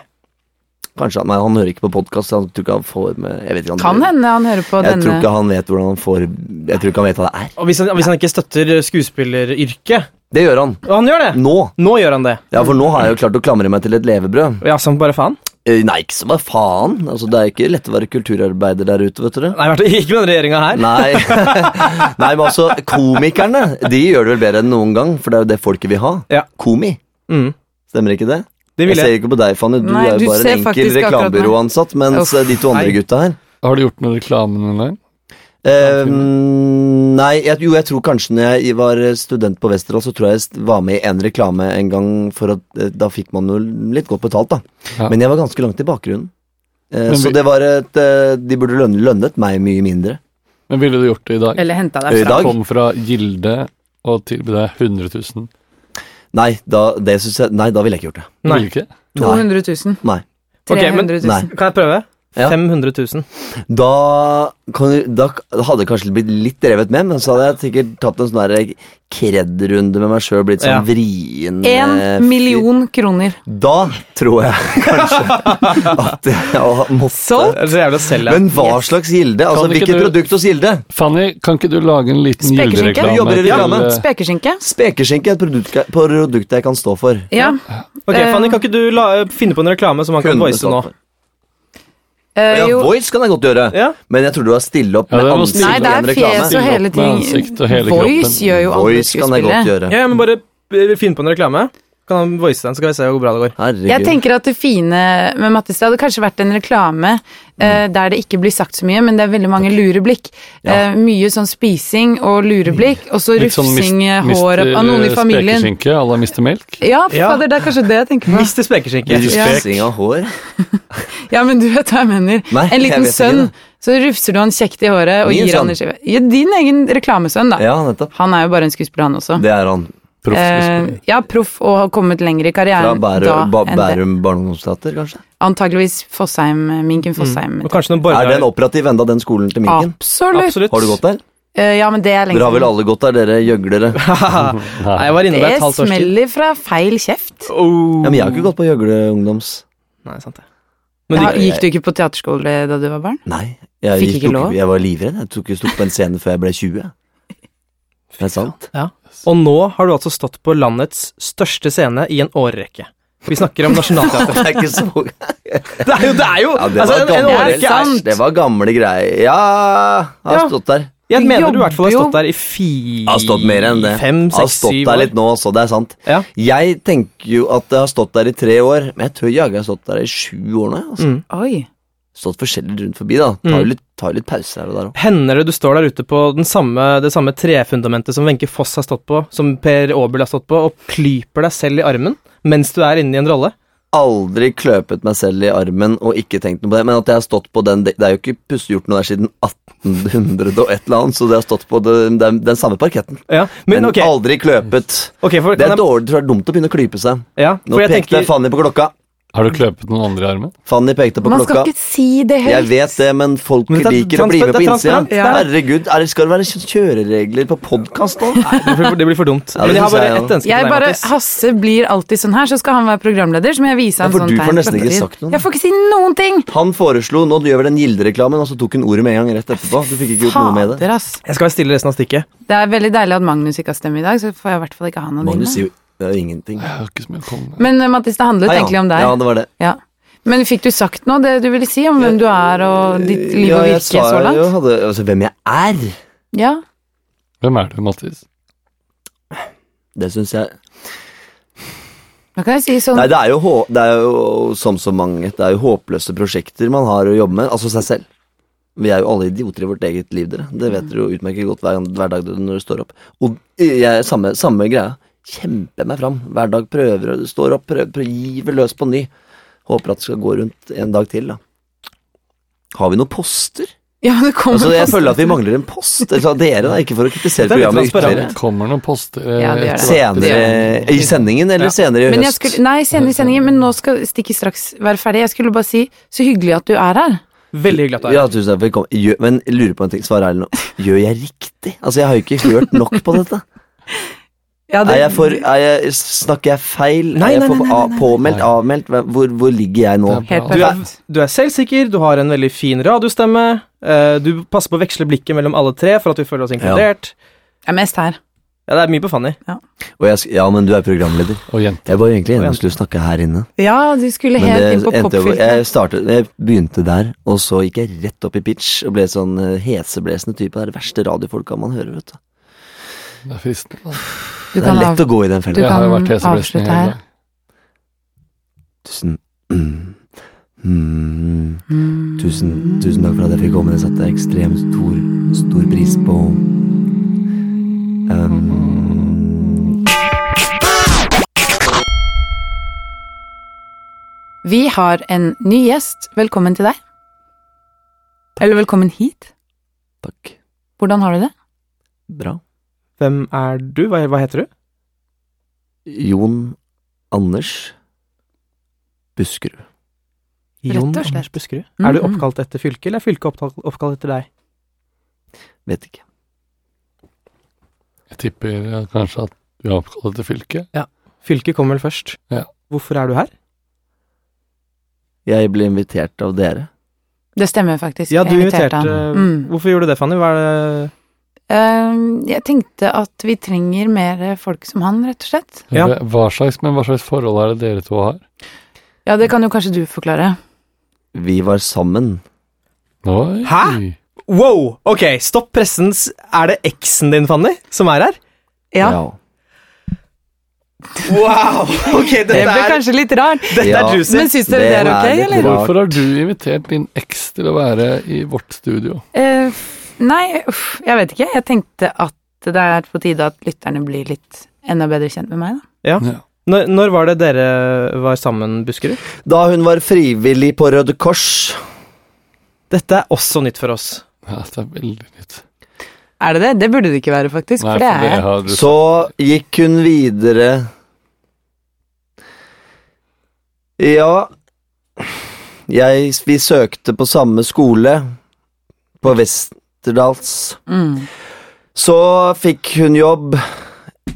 S6: Kanskje han, nei, han hører ikke på podkast, han tror ikke han får med Jeg vet ikke
S2: Kan
S6: han
S2: hende han hører på
S6: Jeg tror
S2: denne.
S6: ikke han vet hvordan han får Jeg tror ikke han vet hva det er.
S3: Og hvis han, hvis han ikke støtter skuespilleryrket
S6: Det gjør han.
S3: Og han gjør det!
S6: Nå.
S3: Nå gjør han det.
S6: Ja, for nå har jeg jo klart å klamre meg til et levebrød.
S3: Ja, som sånn, bare faen.
S6: Eh, Nei, ikke som hva faen. Altså, det er ikke lett å være kulturarbeider der ute, vet dere.
S3: Nei, i hvert fall ikke med denne regjeringa her.
S6: Nei. Nei, men altså, komikerne de gjør det vel bedre enn noen gang, for det er jo det folket vil ha.
S3: Ja.
S6: Komi.
S3: Mm.
S6: Stemmer ikke det?
S3: Det
S6: Jeg
S3: vil jeg.
S6: ser ikke på deg, Fanny. Du
S2: Nei,
S6: er
S2: du
S6: jo bare
S2: ser
S6: en enkel
S2: faktisk akkurat meg.
S6: reklamebyråansatt, mens
S2: Uff,
S6: eh, de to andre
S3: nei.
S6: gutta her
S4: Har du gjort noen reklame noen gang?
S6: Eh, Ehm, nei, jeg, jo, jeg tror kanskje når jeg var student på Westerdals, så tror jeg jeg st- var med i en reklame en gang, for at, eh, da fikk man jo litt godt betalt, da.
S4: Ja.
S6: Men jeg var ganske langt i bakgrunnen. Eh,
S4: Men
S6: så
S4: vi-
S6: det var et eh, De burde lønne, lønnet meg mye mindre.
S4: Men ville du gjort det i dag?
S2: Eller henta
S6: I
S2: deg fra.
S6: dag?
S4: Kom fra Gilde og tilbød deg 100 000.
S6: Nei, da, det synes jeg, nei, da ville jeg ikke gjort det.
S4: Du
S3: Nei.
S4: ville ikke?
S6: Nei.
S2: 200 000.
S6: Nei.
S2: 300 000.
S6: Nei.
S3: Kan jeg prøve?
S6: Ja.
S3: 500 000.
S6: Da, kan, du- da k- hadde jeg kanskje blitt litt revet med, men så hadde jeg sikkert tatt en sånn der kred-runde med meg sjøl, blitt sånn
S3: Ja.
S6: vrien eh, fyr.
S2: Én million kroner.
S6: Da tror jeg kanskje at jeg måtte
S2: Solgt?
S3: Det er så jævlig å selge.
S6: Men hva slags Gilde? Altså,
S4: Kan ikke
S6: Hvilket
S4: du-
S6: produkt hos Gilde?
S4: Fanny, kan ikke du lage en liten
S2: Spekeskinke?
S4: Gilde-reklame?
S6: Du jobber i
S4: til,
S6: reklame.
S4: eh,
S2: Spekeskinke?
S6: Spekeskinke er et produkt, produkt jeg kan stå for.
S2: Ja.
S3: ok, Fanny, kan ikke du la, eh, finne på en reklame som han kan
S6: Kunne
S3: voice
S6: stått
S3: nå?
S6: for.
S2: Eh,
S6: Ja,
S2: jo.
S6: voice kan jeg godt gjøre,
S3: Ja.
S6: men jeg tror du har stille opp
S4: Ja,
S6: med
S4: det var
S6: ansikt
S4: stille
S2: Nei, det
S6: i en
S2: er fjes
S6: reklame.
S2: og hele
S4: Stille opp
S2: ting.
S4: med ansikt og hele
S2: Voice
S4: kroppen.
S2: gjør jo alle
S6: Voice kan jeg godt
S2: skuespillere.
S6: gjøre.
S3: Ja, ja, men bare eh, finne på en reklame. Kan han voice den, så skal vi se hvor bra det går.
S2: Jeg
S6: Herregud.
S2: tenker at det fine med Mattis, det hadde kanskje vært en reklame
S6: Mm.
S2: eh, der det ikke blir sagt så mye, men det er veldig mange lure blikk. Eh, mye sånn spising og lure
S6: Mm.
S2: blikk, og så
S4: Litt sånn mis-
S2: rufsing eh, hår
S4: mister,
S2: av noen i
S4: eh,
S2: familien.
S4: Spekeskinke à la Mr. Melk?
S2: Ja, fy
S3: Ja.
S2: fader, det er kanskje det jeg tenker på.
S3: Mister spekeskinke.
S6: Litt
S2: Ja.
S6: Spissing av hår.
S2: Ja, men du vet hva jeg mener.
S6: Nei,
S2: en
S6: jeg
S2: liten
S6: vet ikke
S2: sønn,
S6: det.
S2: så rufser du han kjekt i håret og
S6: Min
S2: gir han
S6: sønn.
S2: en skive. Ja, din egen reklamesønn, da.
S6: Ja, nettopp.
S2: Han er jo bare en skuespiller, han også.
S6: Det er han.
S4: Proff skuespiller.
S2: Eh, ja, proff og har kommet lenger i
S6: Fra
S2: karrieren da
S6: Bærum, ba,
S2: enn det.
S6: Bærum barne- og ungdomsteater, kanskje?
S2: Antakeligvis Fossheim, Minken Fossheim.
S3: Og kanskje noen
S6: Er den
S3: borgere
S6: operativ enda, den skolen til Mm. Minken?
S2: Absolutt.
S3: Absolutt.
S6: Har du gått der?
S2: Eh, ja, men det er lenge
S6: Dere har vel alle gått der, dere gjøglere?
S4: Nei.
S3: Nei, jeg var inne der et
S2: Det
S3: halvt års tid.
S2: smeller fra feil kjeft.
S3: Oh.
S6: Ja, men jeg har ikke gått på gjøgle ungdoms.
S3: Nei, sant det. Men
S2: Ja,
S3: de,
S2: gikk du ikke på teaterskole da du var barn?
S6: Nei. Jeg,
S2: Fikk
S6: gikk
S2: ikke
S6: jo
S2: lov?
S6: jeg var livredd. Jeg tok jo stort på en scene før jeg ble 20. Det er sant.
S3: og nå har du altså stått på landets største scene i en årrekke. Vi snakker om Nationaltheatret.
S6: Det er ikke så
S3: Det er jo, det er jo
S6: Ja, det
S3: altså,
S6: var
S3: en, en
S6: gamle
S3: årrekke er
S6: Æsj, Det var gamle greier. Ja, jeg
S3: Ja.
S6: har stått der.
S3: Jeg
S2: Du
S3: mener du i hvert fall har
S2: jobber
S3: stått der i
S6: Jeg har stått mer enn det.
S3: fire, fem,
S6: Jeg har
S3: seks,
S6: stått
S3: syv
S6: der
S3: år.
S6: litt nå også, det er sant.
S3: Ja.
S6: Jeg tenker jo at jeg har stått der i tre år, men jeg tør jaggu jeg har stått der i sju år nå. jeg, Altså.
S3: Mm.
S2: Oi.
S6: Stått forskjellig rundt forbi, da. Tar jo litt, tar jo litt pauser her og der òg.
S3: Hender det du står der ute på den samme, det samme trefundamentet som Wenche Foss har stått på, som Per Aabel har stått på, og klyper deg selv i armen mens du er inne i en rolle?
S6: Aldri kløpet meg selv i armen og ikke tenkt noe på det, men at jeg har stått på den Det er jo ikke pussegjort noe der siden 1800 og et eller annet, så det har stått på den, den, den samme parketten.
S3: Ja, men,
S6: Men
S3: ok,
S6: aldri kløpet.
S3: ok, for, kan
S6: Det er
S3: jeg,
S6: dårlig, tror jeg det er dumt å begynne å klype seg.
S3: ja,
S6: Nå
S3: for jeg
S6: pekte
S3: tenker
S6: Fanny på klokka.
S4: Har du kløpet noen andre i armen?
S6: Fanny pekte på
S2: Man skal
S6: klokka.
S2: ikke si det høyt.
S6: Jeg vet det, men folk
S3: Men det er
S6: liker å bli
S3: transparent,
S6: med på
S3: det er
S6: innsida.
S3: transparent,
S2: det er det.
S6: Herregud, er det, skal det være kjø- kjøreregler på podkast nå?
S3: Det blir- det blir for dumt.
S6: Ja, det
S3: men jeg har
S6: synes
S3: bare
S6: jeg, ja.
S3: ett ønske
S2: Jeg
S3: til deg,
S2: bare,
S3: Mattis.
S2: Hasse blir alltid sånn her, så skal han være programleder, så må jeg vise
S6: Ja,
S2: han
S6: for
S2: sånn
S6: du får
S2: tegn.
S6: nesten ikke sagt noe, da.
S2: Jeg får ikke si noen ting!
S6: Han foreslo Nå gjør vi den Gilde-reklamen, og så tok hun ordet med en gang rett etterpå. Du fikk ikke gjort noe med det.
S2: Fader, ass.
S3: Jeg skal være stille resten av stikket.
S2: Det er veldig deilig at Magnus ikke har stemme i dag, så får jeg i hvert fall ikke han å drive
S6: Magnus
S2: med.
S6: sier jo det er jo ingenting.
S4: Jeg har ikke så mye å komme med.
S2: Men eh, Mattis, det handlet
S6: Nei,
S2: egentlig om deg.
S6: Ja, det var det.
S2: Ja. Men fikk du sagt noe, det du ville si om hvem du er og ditt liv
S6: Ja,
S2: og
S6: jeg
S2: virke
S6: sa
S2: så
S6: jo,
S2: langt?
S6: hadde, altså, hvem jeg er,
S2: Ja.
S4: Hvem er du, Mattis?
S6: det syns jeg
S2: Da kan jeg si sånn
S6: Nei, det er, jo, hå- det er jo som så mange. Det er jo håpløse prosjekter man har å jobbe med. Altså seg selv. Vi er jo alle idioter i vårt eget liv, dere. Det
S3: Mm.
S6: vet dere jo utmerket godt hver, hver dag dere- når dere står opp. Og jeg, samme, samme greia. Kjemper meg fram. Hver dag prøver og står opp, prøver, prøver, giver løs på ny. Håper at det skal gå rundt en dag til, da. Har vi noen poster?
S2: Ja, det kommer
S6: Altså, jeg
S2: post-
S6: føler at vi mangler en post. Altså, dere, da. Ikke for å kritisere
S3: Det er litt
S6: programmet
S4: Det
S6: ytterligere.
S3: transparent.
S4: kommer noen poster eh,
S2: Ja, det gjør det.
S4: etter hvert.
S6: Senere i sendingen, eller
S3: Ja.
S6: senere i høst?
S2: Men jeg skulle, nei, senere i sendingen, men nå skal stikket straks være ferdig. Jeg skulle bare si så hyggelig at du er her.
S3: Veldig hyggelig at du er her.
S6: Ja, tusen takk for at jeg kom. Gjør, men jeg lurer på en ting. Svar ærlig nå. Gjør jeg riktig? Altså, jeg har jo ikke hørt nok på dette.
S2: Ja,
S6: Er jeg for, er jeg, snakker jeg feil?
S3: Nei,
S6: er jeg
S3: nei,
S6: for,
S3: nei, nei, nei,
S6: påmeldt? Avmeldt? Hva- Hvor, hvor ligger jeg
S4: Det er
S6: nå?
S2: Helt
S4: bra.
S3: Du
S2: perfekt.
S3: er, du er selvsikker, du har en veldig fin radiostemme, eh, du passer på å veksle blikket mellom alle tre for at vi føler oss inkludert.
S2: Jeg er mest her.
S3: Ja, det er mye på Fanny.
S6: Og jeg, sk- ja, men du er programleder.
S4: Og jente.
S6: Jeg var egentlig enig om å skulle snakke her inne.
S2: Ja, du skulle
S6: Men
S2: helt
S6: det
S2: inn på
S6: endte jo-
S2: popfilteret.
S6: jeg, startet, jeg begynte der, og så gikk jeg rett opp i pitch og ble sånn eh, heseblesende type. Det er det verste radiofolka man hører, vet du.
S4: Det er fristende. da.
S2: Du
S6: Det er
S2: kan,
S6: lett
S2: av,
S6: å gå i den
S2: du
S6: fella.
S4: Jeg har jo
S2: kan
S4: vært heseblesende
S2: avslutte
S4: hele
S2: her.
S4: dagen.
S6: Tusen mm, mm. Tusen, tusen takk for at jeg fikk komme. Det satte jeg ekstremt stor, stor pris på. Um,
S2: Vi har en ny gjest. Velkommen til deg. Eller velkommen hit.
S6: takk.
S2: Hvordan har du det?
S6: Bra.
S3: Hvem er du? Hva, hva heter du?
S6: Jon Anders Buskerud.
S2: Rett og
S3: Jon
S2: slett.
S3: Anders Buskerud.
S2: Mhm.
S3: Er du oppkalt etter fylket, eller er fylket oppkalt, oppkalt etter deg?
S6: Vet ikke.
S4: Jeg tipper eh, kanskje at vi har oppkalt etter fylket.
S3: Fylket kom vel først.
S4: Ja.
S3: Hvorfor er du her?
S6: Jeg ble invitert av dere.
S2: Det stemmer faktisk.
S3: Ja, du
S2: Jeg inviterte
S3: inviterte
S2: han. Mm.
S3: Hvorfor gjorde du det, Fanny? Hva er det
S2: Eh, Jeg tenkte at vi trenger mer folk som han, rett og slett.
S3: Ja.
S4: Hva- Hva slags, men hva slags forhold er det dere to har?
S2: Ja, det kan jo kanskje du forklare.
S6: Vi var sammen.
S4: Oi.
S3: Hæ? Wow! Ok, stopp pressens Er det eksen din, Fanny, som er her?
S2: Ja,
S3: Wow! Ok,
S2: det
S3: dette
S2: ble
S3: er,
S2: kanskje litt rart.
S3: dette
S6: Ja.
S3: er juicy.
S2: Men syns dere det er ok,
S6: litt
S2: eller?
S6: rart.
S4: Hvorfor har du invitert din eks til å være i vårt studio?
S2: Eh, f- nei, uff, jeg vet ikke. Jeg tenkte at det er på tide at lytterne blir litt enda bedre kjent med meg, da.
S3: Når, når var det dere var sammen, Buskerud?
S6: Da hun var frivillig på Røde Kors.
S3: Dette er også nytt for oss.
S4: Ja, det er veldig nytt.
S2: Er det det? Det burde det ikke være, faktisk.
S4: Nei,
S2: for det er jeg.
S4: har du
S6: Så gikk hun videre Ja jeg, Vi søkte på samme skole På Vesterdals
S2: Mm.
S6: Så fikk hun jobb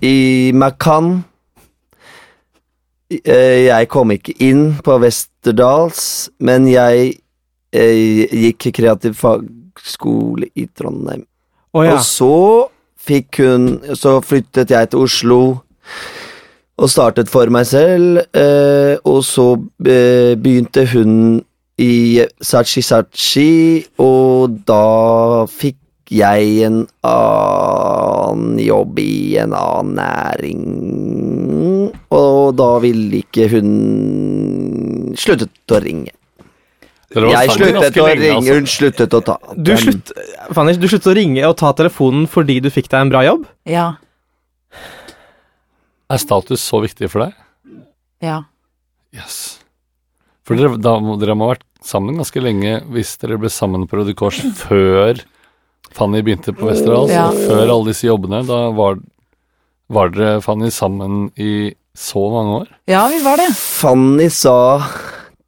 S6: I Macan Eh, Jeg kom ikke inn på Vesterdals Men jeg eh, gikk kreativ fagskole i Trondheim
S3: Å ja.
S6: og så fikk hun Så flyttet jeg til Oslo og startet for meg selv. Eh, og så eh, begynte hun i Sachi Sachi, og da fikk jeg en annen jobb i en annen næring. Og da ville ikke hun Sluttet å ringe.
S4: Dere var
S6: Jeg
S4: sammen
S6: sluttet
S4: ganske
S6: å
S4: lenge,
S6: ringe,
S4: altså.
S6: hun sluttet å ta
S3: Du, slutt, Fanny, du sluttet å ringe og ta telefonen fordi du fikk deg en bra jobb?
S2: Ja.
S4: Er status så viktig for deg?
S2: Ja.
S4: Yes. For dere, da, må- dere må ha vært sammen ganske lenge hvis dere ble sammen på Røde Kors før Fanny begynte på Westerdals,
S2: Ja.
S4: og før alle disse jobbene. Da var, var dere, Fanny, sammen i så mange år?
S2: Ja, vi var det.
S6: Fanny sa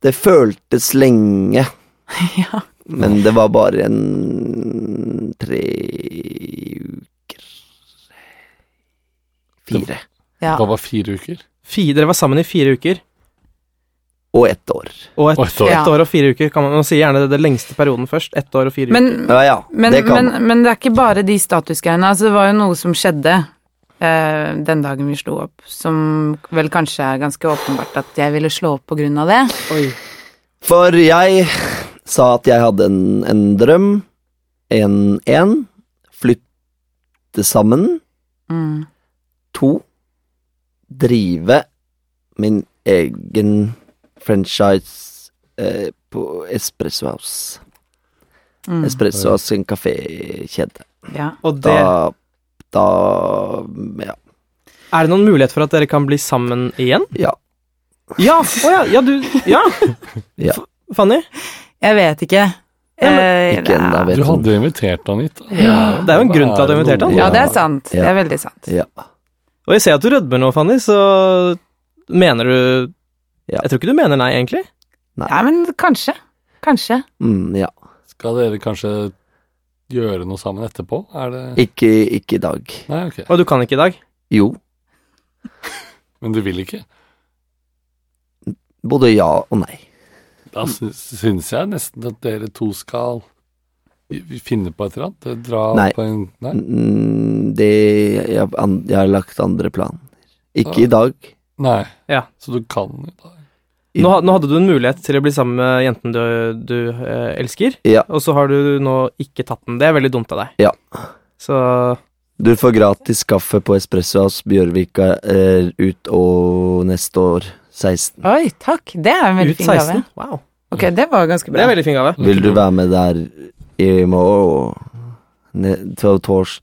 S6: det føltes lenge,
S2: Ja.
S6: men det var bare en tre uker Fire.
S2: Ja.
S4: Det var fire uker?
S3: Fire, dere var sammen i fire uker.
S6: Og ett år.
S3: Og et,
S4: Og et år.
S3: ett år og fire uker. Kan man, man sier gjerne det, det lengste perioden først. Ett år og fire uker.
S2: Men,
S6: Ja, ja,
S2: men,
S6: det kan
S2: men, men det er ikke bare de statusgreiene. Altså, det var jo noe som skjedde eh, den dagen vi slo opp, som vel kanskje er ganske åpenbart at jeg ville slå opp på grunn av det.
S6: For jeg sa at jeg hadde en, en drøm. En én. Flytte sammen.
S2: Mm.
S6: To. Drive min egen franchise eh, på Espresso House.
S2: Mm.
S6: Espresso House, en kafékjede.
S2: Ja.
S3: Og det,
S6: Da, da ja.
S3: er det noen mulighet for at dere kan bli sammen igjen?
S6: Ja.
S3: Ja! Å ja, ja, du Ja!
S6: Ja.
S3: F- Fanny?
S2: Jeg vet ikke. Eh,
S6: Ikke ennå,
S2: ja.
S6: vet
S4: Du hadde jo invitert han hit. da.
S3: Det er jo en grunn til at du har invitert han.
S2: Ja, det er sant.
S6: Ja.
S2: Det er veldig sant.
S6: Ja.
S3: Og jeg ser at du rødmer nå, Fanny, så mener du
S6: Ja.
S3: Jeg tror ikke du mener nei, egentlig.
S2: Ja, men kanskje. Kanskje.
S6: Mm, ja.
S4: Skal dere kanskje gjøre noe sammen etterpå? Er det
S6: Ikke, ikke i dag.
S4: Nei, ok.
S3: Og du kan ikke i dag.
S6: Jo,
S4: Men du vil ikke?
S6: både ja og nei.
S4: Da sy- syns jeg nesten at dere to skal finne på et eller annet. Dra
S6: Nei.
S4: på en Nei.
S6: Mm, det jeg, an, jeg har lagt andre planer. Ikke
S4: Ja.
S6: i dag.
S4: Nei.
S3: Ja.
S4: Så du kan jo da
S6: I-
S3: Nå, ha- nå hadde du en mulighet til å bli sammen med jenten du, du eh, elsker,
S6: Ja.
S3: og så har du nå ikke tatt den. Det er veldig dumt av deg.
S6: Ja.
S3: Så
S6: Du får gratis kaffe på Espresso House Bjørvika eh, ut og neste år 16.
S2: Oi, takk. Det er en veldig
S3: ut
S2: fin gave.
S3: 16. Wow.
S2: Ok, det var ganske
S3: Det er
S2: bra.
S3: en veldig fin gave.
S6: Vil du være med der i morgen? Ne, til tors,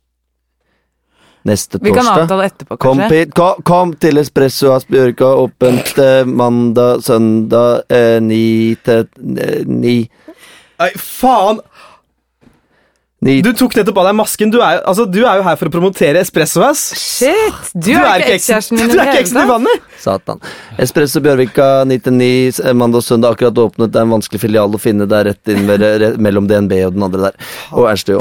S6: neste
S2: Vi kan
S6: torsdag?
S2: avtale etterpå,
S6: Kom,
S2: kanskje.
S6: pi- ko- kom til Espresso Asbjørka, åpent eh, mandag, søndag, eh, ni til eh, ni,
S3: Nei, faen!
S6: ni
S3: Du tok nettopp av deg masken. Du er, altså, du er jo her for å promotere Espresso House.
S2: Shit! Du, er ikke ekskjæresten min i
S3: Du
S2: det
S3: er ikke
S2: hele
S3: eksen til
S2: tatt.
S3: Fanny!
S6: Satan. Espresso Bjørvika 99 eh, mandag og søndag akkurat åpnet. Det er en vanskelig filial å finne. Det er rett inn ved, re, mellom DNB og den andre der. Og Ernstø.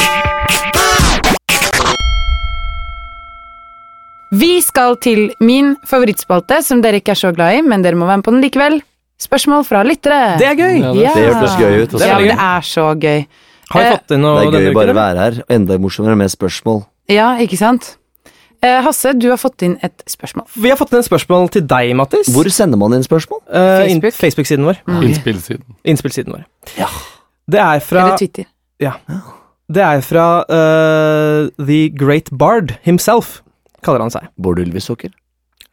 S2: Vi skal til min favorittspalte, som dere ikke er så glad i, men dere må være med på den likevel. Spørsmål fra lyttere.
S3: Det er gøy!
S4: Ja,
S2: Ja.
S4: det-
S6: Det hørtes gøy ut.
S4: Det
S2: Ja,
S4: er
S2: men
S4: gøy.
S2: det er så gøy.
S3: Har vi fått inn noe
S6: Det er
S3: denne
S6: gøy å
S3: uken,
S6: bare
S3: eller?
S6: være her. Og enda morsommere med spørsmål.
S2: Ja, ikke sant? Eh, Hasse, du har fått inn et spørsmål.
S3: Vi har fått inn et spørsmål til deg, Mattis.
S6: Hvor sender man inn spørsmål?
S3: Eh, inn-
S2: Facebook?
S3: Facebook-siden vår.
S4: Mm. Innspillsiden.
S3: Innspillsiden vår. Det er fra,
S2: Eller Twitter.
S3: det er fra eh, The Great Bard himself, kaller han seg.
S6: Bård Ulvesukker?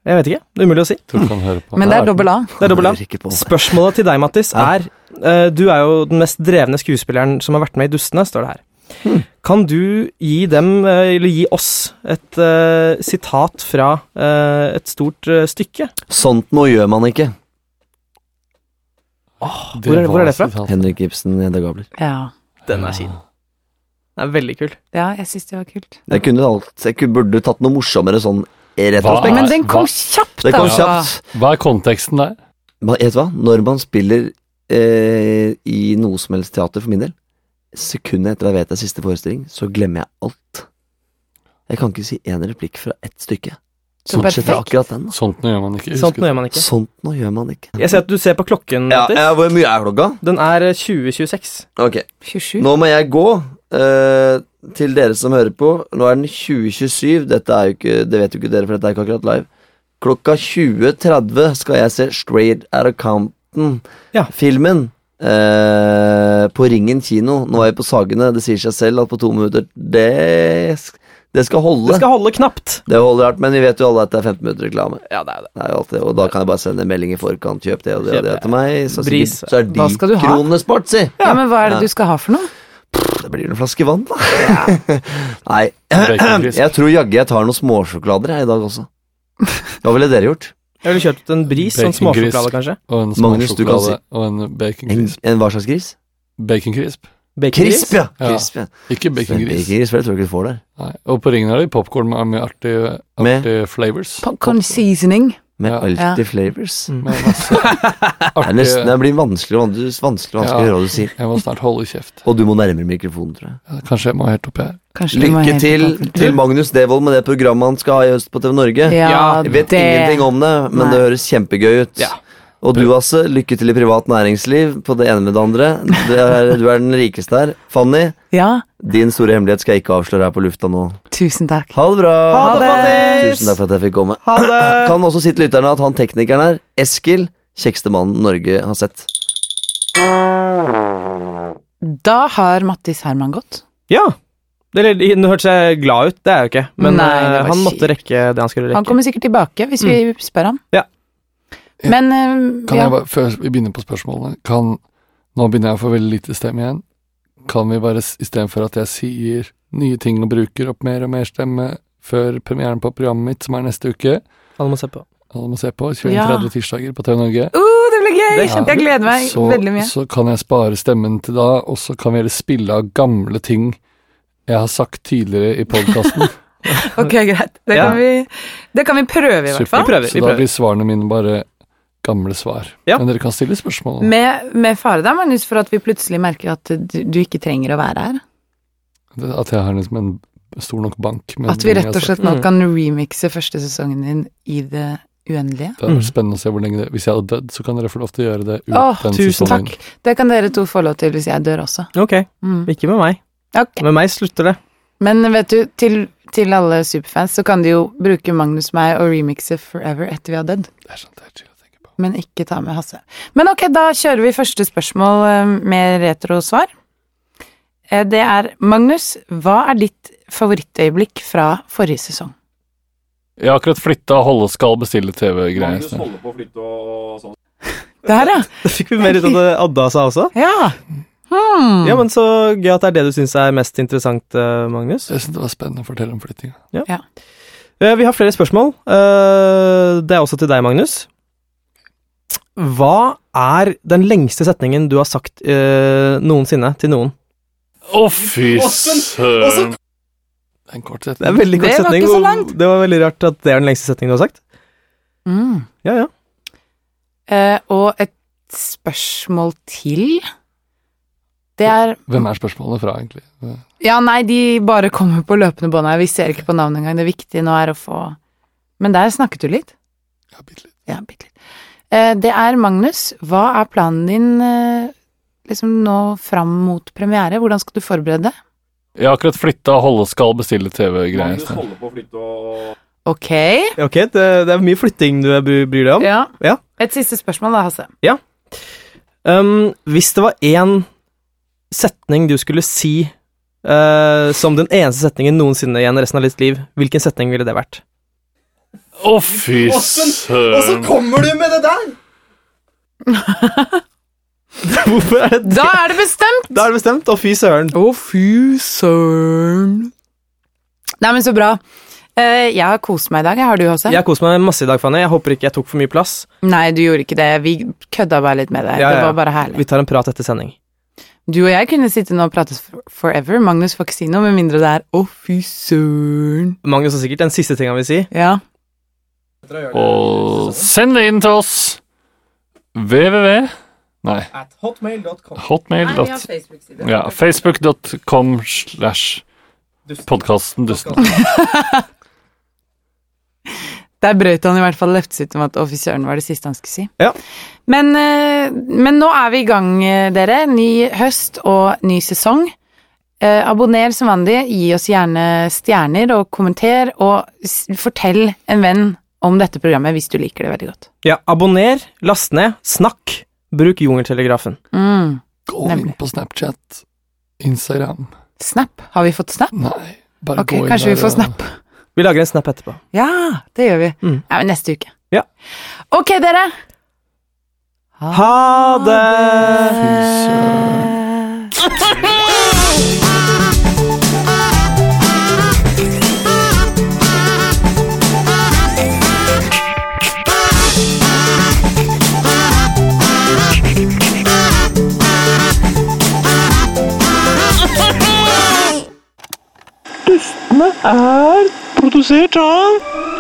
S3: Jeg vet ikke. Det er umulig å si.
S4: Tror ikke han hører på.
S2: Men det er dobbel A.
S3: Det er dobbel A.
S6: Hører ikke på det.
S3: Spørsmålet til deg, Mattis,
S6: Ja.
S3: er eh, Du er jo den mest drevne skuespilleren som har vært med i Dustene, står det her.
S6: Hmm.
S3: Kan du gi dem, eh, eller gi oss, et eh, sitat fra eh, et stort eh, stykke?
S6: Sånt noe gjør man ikke.
S3: hvor er- hvor er det fra?
S4: var sitatet.
S6: Henrik Ibsen, Hedda Gabler.
S2: Ja.
S3: Den er fin. Den er veldig kul.
S2: Ja, jeg syns det var kult.
S6: Jeg kunne alt, jeg kunne, burde tatt noe morsommere sånn i
S4: Hva er-
S6: retrospekt.
S2: Men den kom
S4: hva-
S2: kjapt,
S6: Det kom
S2: altså.
S6: kjapt.
S4: Hva er konteksten der?
S6: Man, vet du hva? Når man spiller eh, i noe som helst teater, for min del, sekundet etter at jeg vet det er siste forestilling, så glemmer jeg alt. Jeg kan ikke si én replikk fra ett stykke.
S2: Så
S6: Bortsett fra
S2: perfekt.
S6: akkurat den. da.
S4: Sånt noe gjør man ikke. husker
S3: Sånt
S4: du.
S3: noe gjør man ikke.
S6: Sånt nå gjør man ikke.
S3: Jeg ser at du ser på klokken, Mattis.
S6: Hvor mye er klokka?
S3: Den er eh, 2026.
S6: Ok,
S2: 27.
S6: Nå må jeg gå. eh, til dere som hører på, nå er den 2027. Dette er jo ikke, det vet jo ikke dere, for dette er ikke akkurat live. Klokka 20.30 skal jeg se Straight Outta
S3: Ja.
S6: Compton-filmen. eh, på Ringen kino. Nå er vi på Sagene. Det sier seg selv at på to minutter Det, sk- det skal holde.
S3: Det skal holde knapt.
S6: Det holder hardt, men vi vet jo alle at det er 15 minutter reklame.
S3: Ja, det er det.
S6: Det er jo alt det, og da kan jeg bare sende en melding i forkant. Kjøp det og det og det til meg. Så, sier de-
S3: Bris.
S6: så er de
S2: Hva skal du ha?
S6: kronene spart, si!
S2: Ja, men hva er det du skal ha for noe?
S6: Det blir en flaske vann, da. Nei,
S4: Baconfrisk.
S6: jeg tror jaggu jeg tar noen småsjokolader jeg i dag også. Hva ville dere gjort?
S3: Jeg ville kjøpt en bris, sånn
S4: Bacongris.
S3: småsjokolade kanskje.
S4: Og en
S6: Magnus, du kan
S4: småsjokolade og en bacon
S6: En,
S4: crisp.
S6: en hva slags gris?
S4: Bacon crisp.
S3: Bacongris.
S6: Krisp, ja!
S4: Ja.
S6: Krisp, ja.
S4: Ikke bacon
S6: Men
S4: gris.
S6: Bacongris, for det tror jeg ikke du får der.
S4: Nei. Og på ringen har de popkorn med mye artige,
S6: Med?
S4: artige flavors.
S2: Popcorn seasoning.
S6: Med
S4: Ja. Mm.
S6: alltid flavors.
S4: Med masse
S6: Det, er nesten,
S4: artige
S6: det blir vanskeligere og vanskelig, vanskelig, vanskelig å
S4: Ja.
S6: høre hva du sier.
S4: Jeg må snart holde kjeft.
S6: Og du må nærmere mikrofonen, tror jeg.
S4: Ja, Kanskje jeg må helt oppi her.
S2: Kanskje du må
S6: Lykke
S2: helt
S6: til
S2: tilbake.
S6: til Magnus Devold med det programmet han skal ha i høst på TV Norge.
S2: Ja,
S6: Jeg vet
S2: det
S6: ingenting om det, men
S2: Nei.
S6: det høres kjempegøy ut.
S3: Ja.
S6: Og du, Asse, lykke til i privat næringsliv på det ene med det andre. Du er, du er den rikeste her. Fanny,
S2: Ja,
S6: din store hemmelighet skal jeg ikke avsløre her på lufta nå.
S2: tusen takk.
S6: Ha det bra!
S3: Ha det, Mattis!
S6: Tusen takk for at jeg fikk komme.
S3: Ha det!
S6: Kan også si til lytterne at han teknikeren her, Eskil, kjekkeste mannen Norge har sett.
S2: Da har Mattis Herman gått.
S3: Ja. Eller, den hørte seg glad ut, det er jeg jo ikke, men
S2: Nei, det
S3: eh,
S2: var
S3: han måtte rekke det han skulle rekke.
S2: Han kommer sikkert tilbake hvis vi spør ham.
S3: Ja.
S2: Men eh,
S4: Kan
S2: ja.
S4: jeg bare, Før vi begynner på spørsmålene kan, Nå begynner jeg å få veldig lite stemme igjen. Kan vi bare, s- istedenfor at jeg sier nye ting og bruker opp mer og mer stemme før premieren på programmet mitt, som er neste uke
S3: Alle må se på.
S4: Alle må se på.
S2: Ja.
S4: 21.30 tirsdager på TV Norge.
S2: oh, det blir gøy!
S3: Det er kjempegøy.
S2: Jeg gleder meg
S4: så,
S2: veldig mye.
S4: Så kan jeg spare stemmen til da, og så kan vi heller spille av gamle ting jeg har sagt tidligere i podkasten.
S2: Ok, greit. Det
S3: Ja.
S2: kan, vi, det kan vi prøve, i hvert fall.
S3: Vi prøver,
S4: Så
S3: vi
S4: da
S3: prøver.
S4: blir svarene mine bare gamle svar.
S3: Ja.
S4: Men dere kan stille spørsmål.
S2: Med, med fare da, Magnus, for at vi plutselig merker at du, du ikke trenger å være her.
S4: Det- At jeg har liksom en stor nok bank. med
S2: At vi
S4: ting jeg
S2: rett og
S4: har sagt.
S2: slett nå
S3: Mm.
S2: kan remixe første sesongen din i det uendelige.
S4: Det hadde
S3: Mm.
S4: vært spennende å se hvor lenge det Hvis jeg hadde dødd, så kan dere få lov til å gjøre det uten
S2: Åh,
S3: tusen
S4: sesongen.
S2: Takk. Det kan dere to få lov til hvis jeg dør også.
S3: Ok,
S2: Mm.
S3: ikke med meg.
S2: Ok.
S3: Med meg slutter det.
S2: Men vet du, til, til alle superfans så kan de jo bruke Magnus meg og remixe Forever etter vi har dødd.
S4: Det er sant, det er chill å tenke på.
S2: Men ikke ta med Hasse. Men ok, da kjører vi første spørsmål eh, med retrosvar. Eh, Det er Magnus, hva er ditt favorittøyeblikk fra forrige sesong?
S4: Jeg har akkurat flytta holde skal bestille TV-greier.
S7: holder på å flytte og sånn.
S2: Der, ja!
S3: Da fikk vi mer ut av det Adda sa også.
S2: Ja! Hmm.
S3: Ja, men så gøy at det er det du syns er mest interessant, eh, Magnus.
S4: Jeg synes det var spennende å fortelle om flyttinga.
S3: Eh, Vi har flere spørsmål. Eh, Det er også til deg, Magnus. Hva er den lengste setningen du har sagt eh, noensinne til noen?
S4: Å, fy søren! Det er en kort
S3: Det er
S4: setning.
S3: en veldig kort
S2: Det var
S3: setning.
S2: ikke så
S3: og
S2: langt.
S3: Det var veldig rart at det er den lengste setningen du har sagt.
S2: Mm.
S3: Ja, ja.
S2: Eh, og et spørsmål til. Det er
S4: Hvem er spørsmålet fra, egentlig? Det-
S2: Ja, nei, de bare kommer på løpende bånd her. Vi ser ikke på navnet engang. Det viktige nå er å få Men der snakket du litt.
S4: Ja, bitte litt.
S2: Ja, bitte litt. Eh, det er Magnus. Hva er planen din eh, liksom nå fram mot premiere? Hvordan skal du forberede deg?
S4: Jeg har akkurat flytta holde skal bestille TV-greier. snart.
S7: holder på å flytte og
S2: Ok.
S3: Ok, det, det er mye flytting du bry- bryr deg om.
S2: Ja.
S3: Ja.
S2: Et siste spørsmål da, Hasse.
S3: Um, hvis det var én setning du skulle si eh, som den eneste setningen noensinne igjen resten av ditt liv, hvilken setning ville det vært?
S4: Å, fy søren!
S6: kommer du med det der?!
S3: Hvorfor er det
S2: Da er det bestemt!
S3: Da er det bestemt. Å, fy søren.
S2: Å, fy søren. Nei, men så bra. Eh, jeg har kost meg i dag. Har du, Hasse?
S3: Jeg har kost meg masse i dag, Fanny. Jeg håper ikke jeg tok for mye plass.
S2: Nei, du gjorde ikke det. Vi kødda bare litt med deg.
S3: Ja, ja,
S2: Det
S3: ja.
S2: var bare herlig.
S3: Vi tar en prat etter sending.
S2: Du og jeg kunne sitte nå og prate for- forever. Magnus får ikke si noe, med mindre det er 'Å, fy søren'.
S3: Magnus har sikkert den siste tinga han vil si.
S2: Ja.
S4: Og send det inn til oss. www. Nei,
S3: At hotmail.com.
S4: hotmail. dot- Ja, Facebook.com slash podkasten Dusten.
S2: Der brøyt han i hvert fall løftet sitt om at 'Å, fy søren' var det siste han skulle si.
S3: Ja.
S2: Men, eh, men nå er vi i gang, eh, dere. Ny høst og ny sesong. Eh, abonner som vanlig, gi oss gjerne stjerner og kommenter, og s fortell en venn om dette programmet hvis du liker det veldig godt.
S3: Ja, abonner, last ned, snakk. Bruk Jungeltelegrafen.
S2: Mm.
S4: Gå inn
S2: Nemlig.
S4: på Snapchat, Instagram
S2: Snap. Har vi fått snap?
S4: Nei, bare
S2: Ok,
S4: Mm, gå inn
S2: kanskje vi
S4: der
S2: får
S4: og-
S2: snap.
S3: Vi lager en snap etterpå.
S2: Ja, det gjør vi.
S3: Mm.
S2: Ja, men neste uke.
S3: Ja.
S2: Ok, dere.
S3: Ha det!
S4: Fy søren.
S2: Eh,
S8: Dustene er produsert av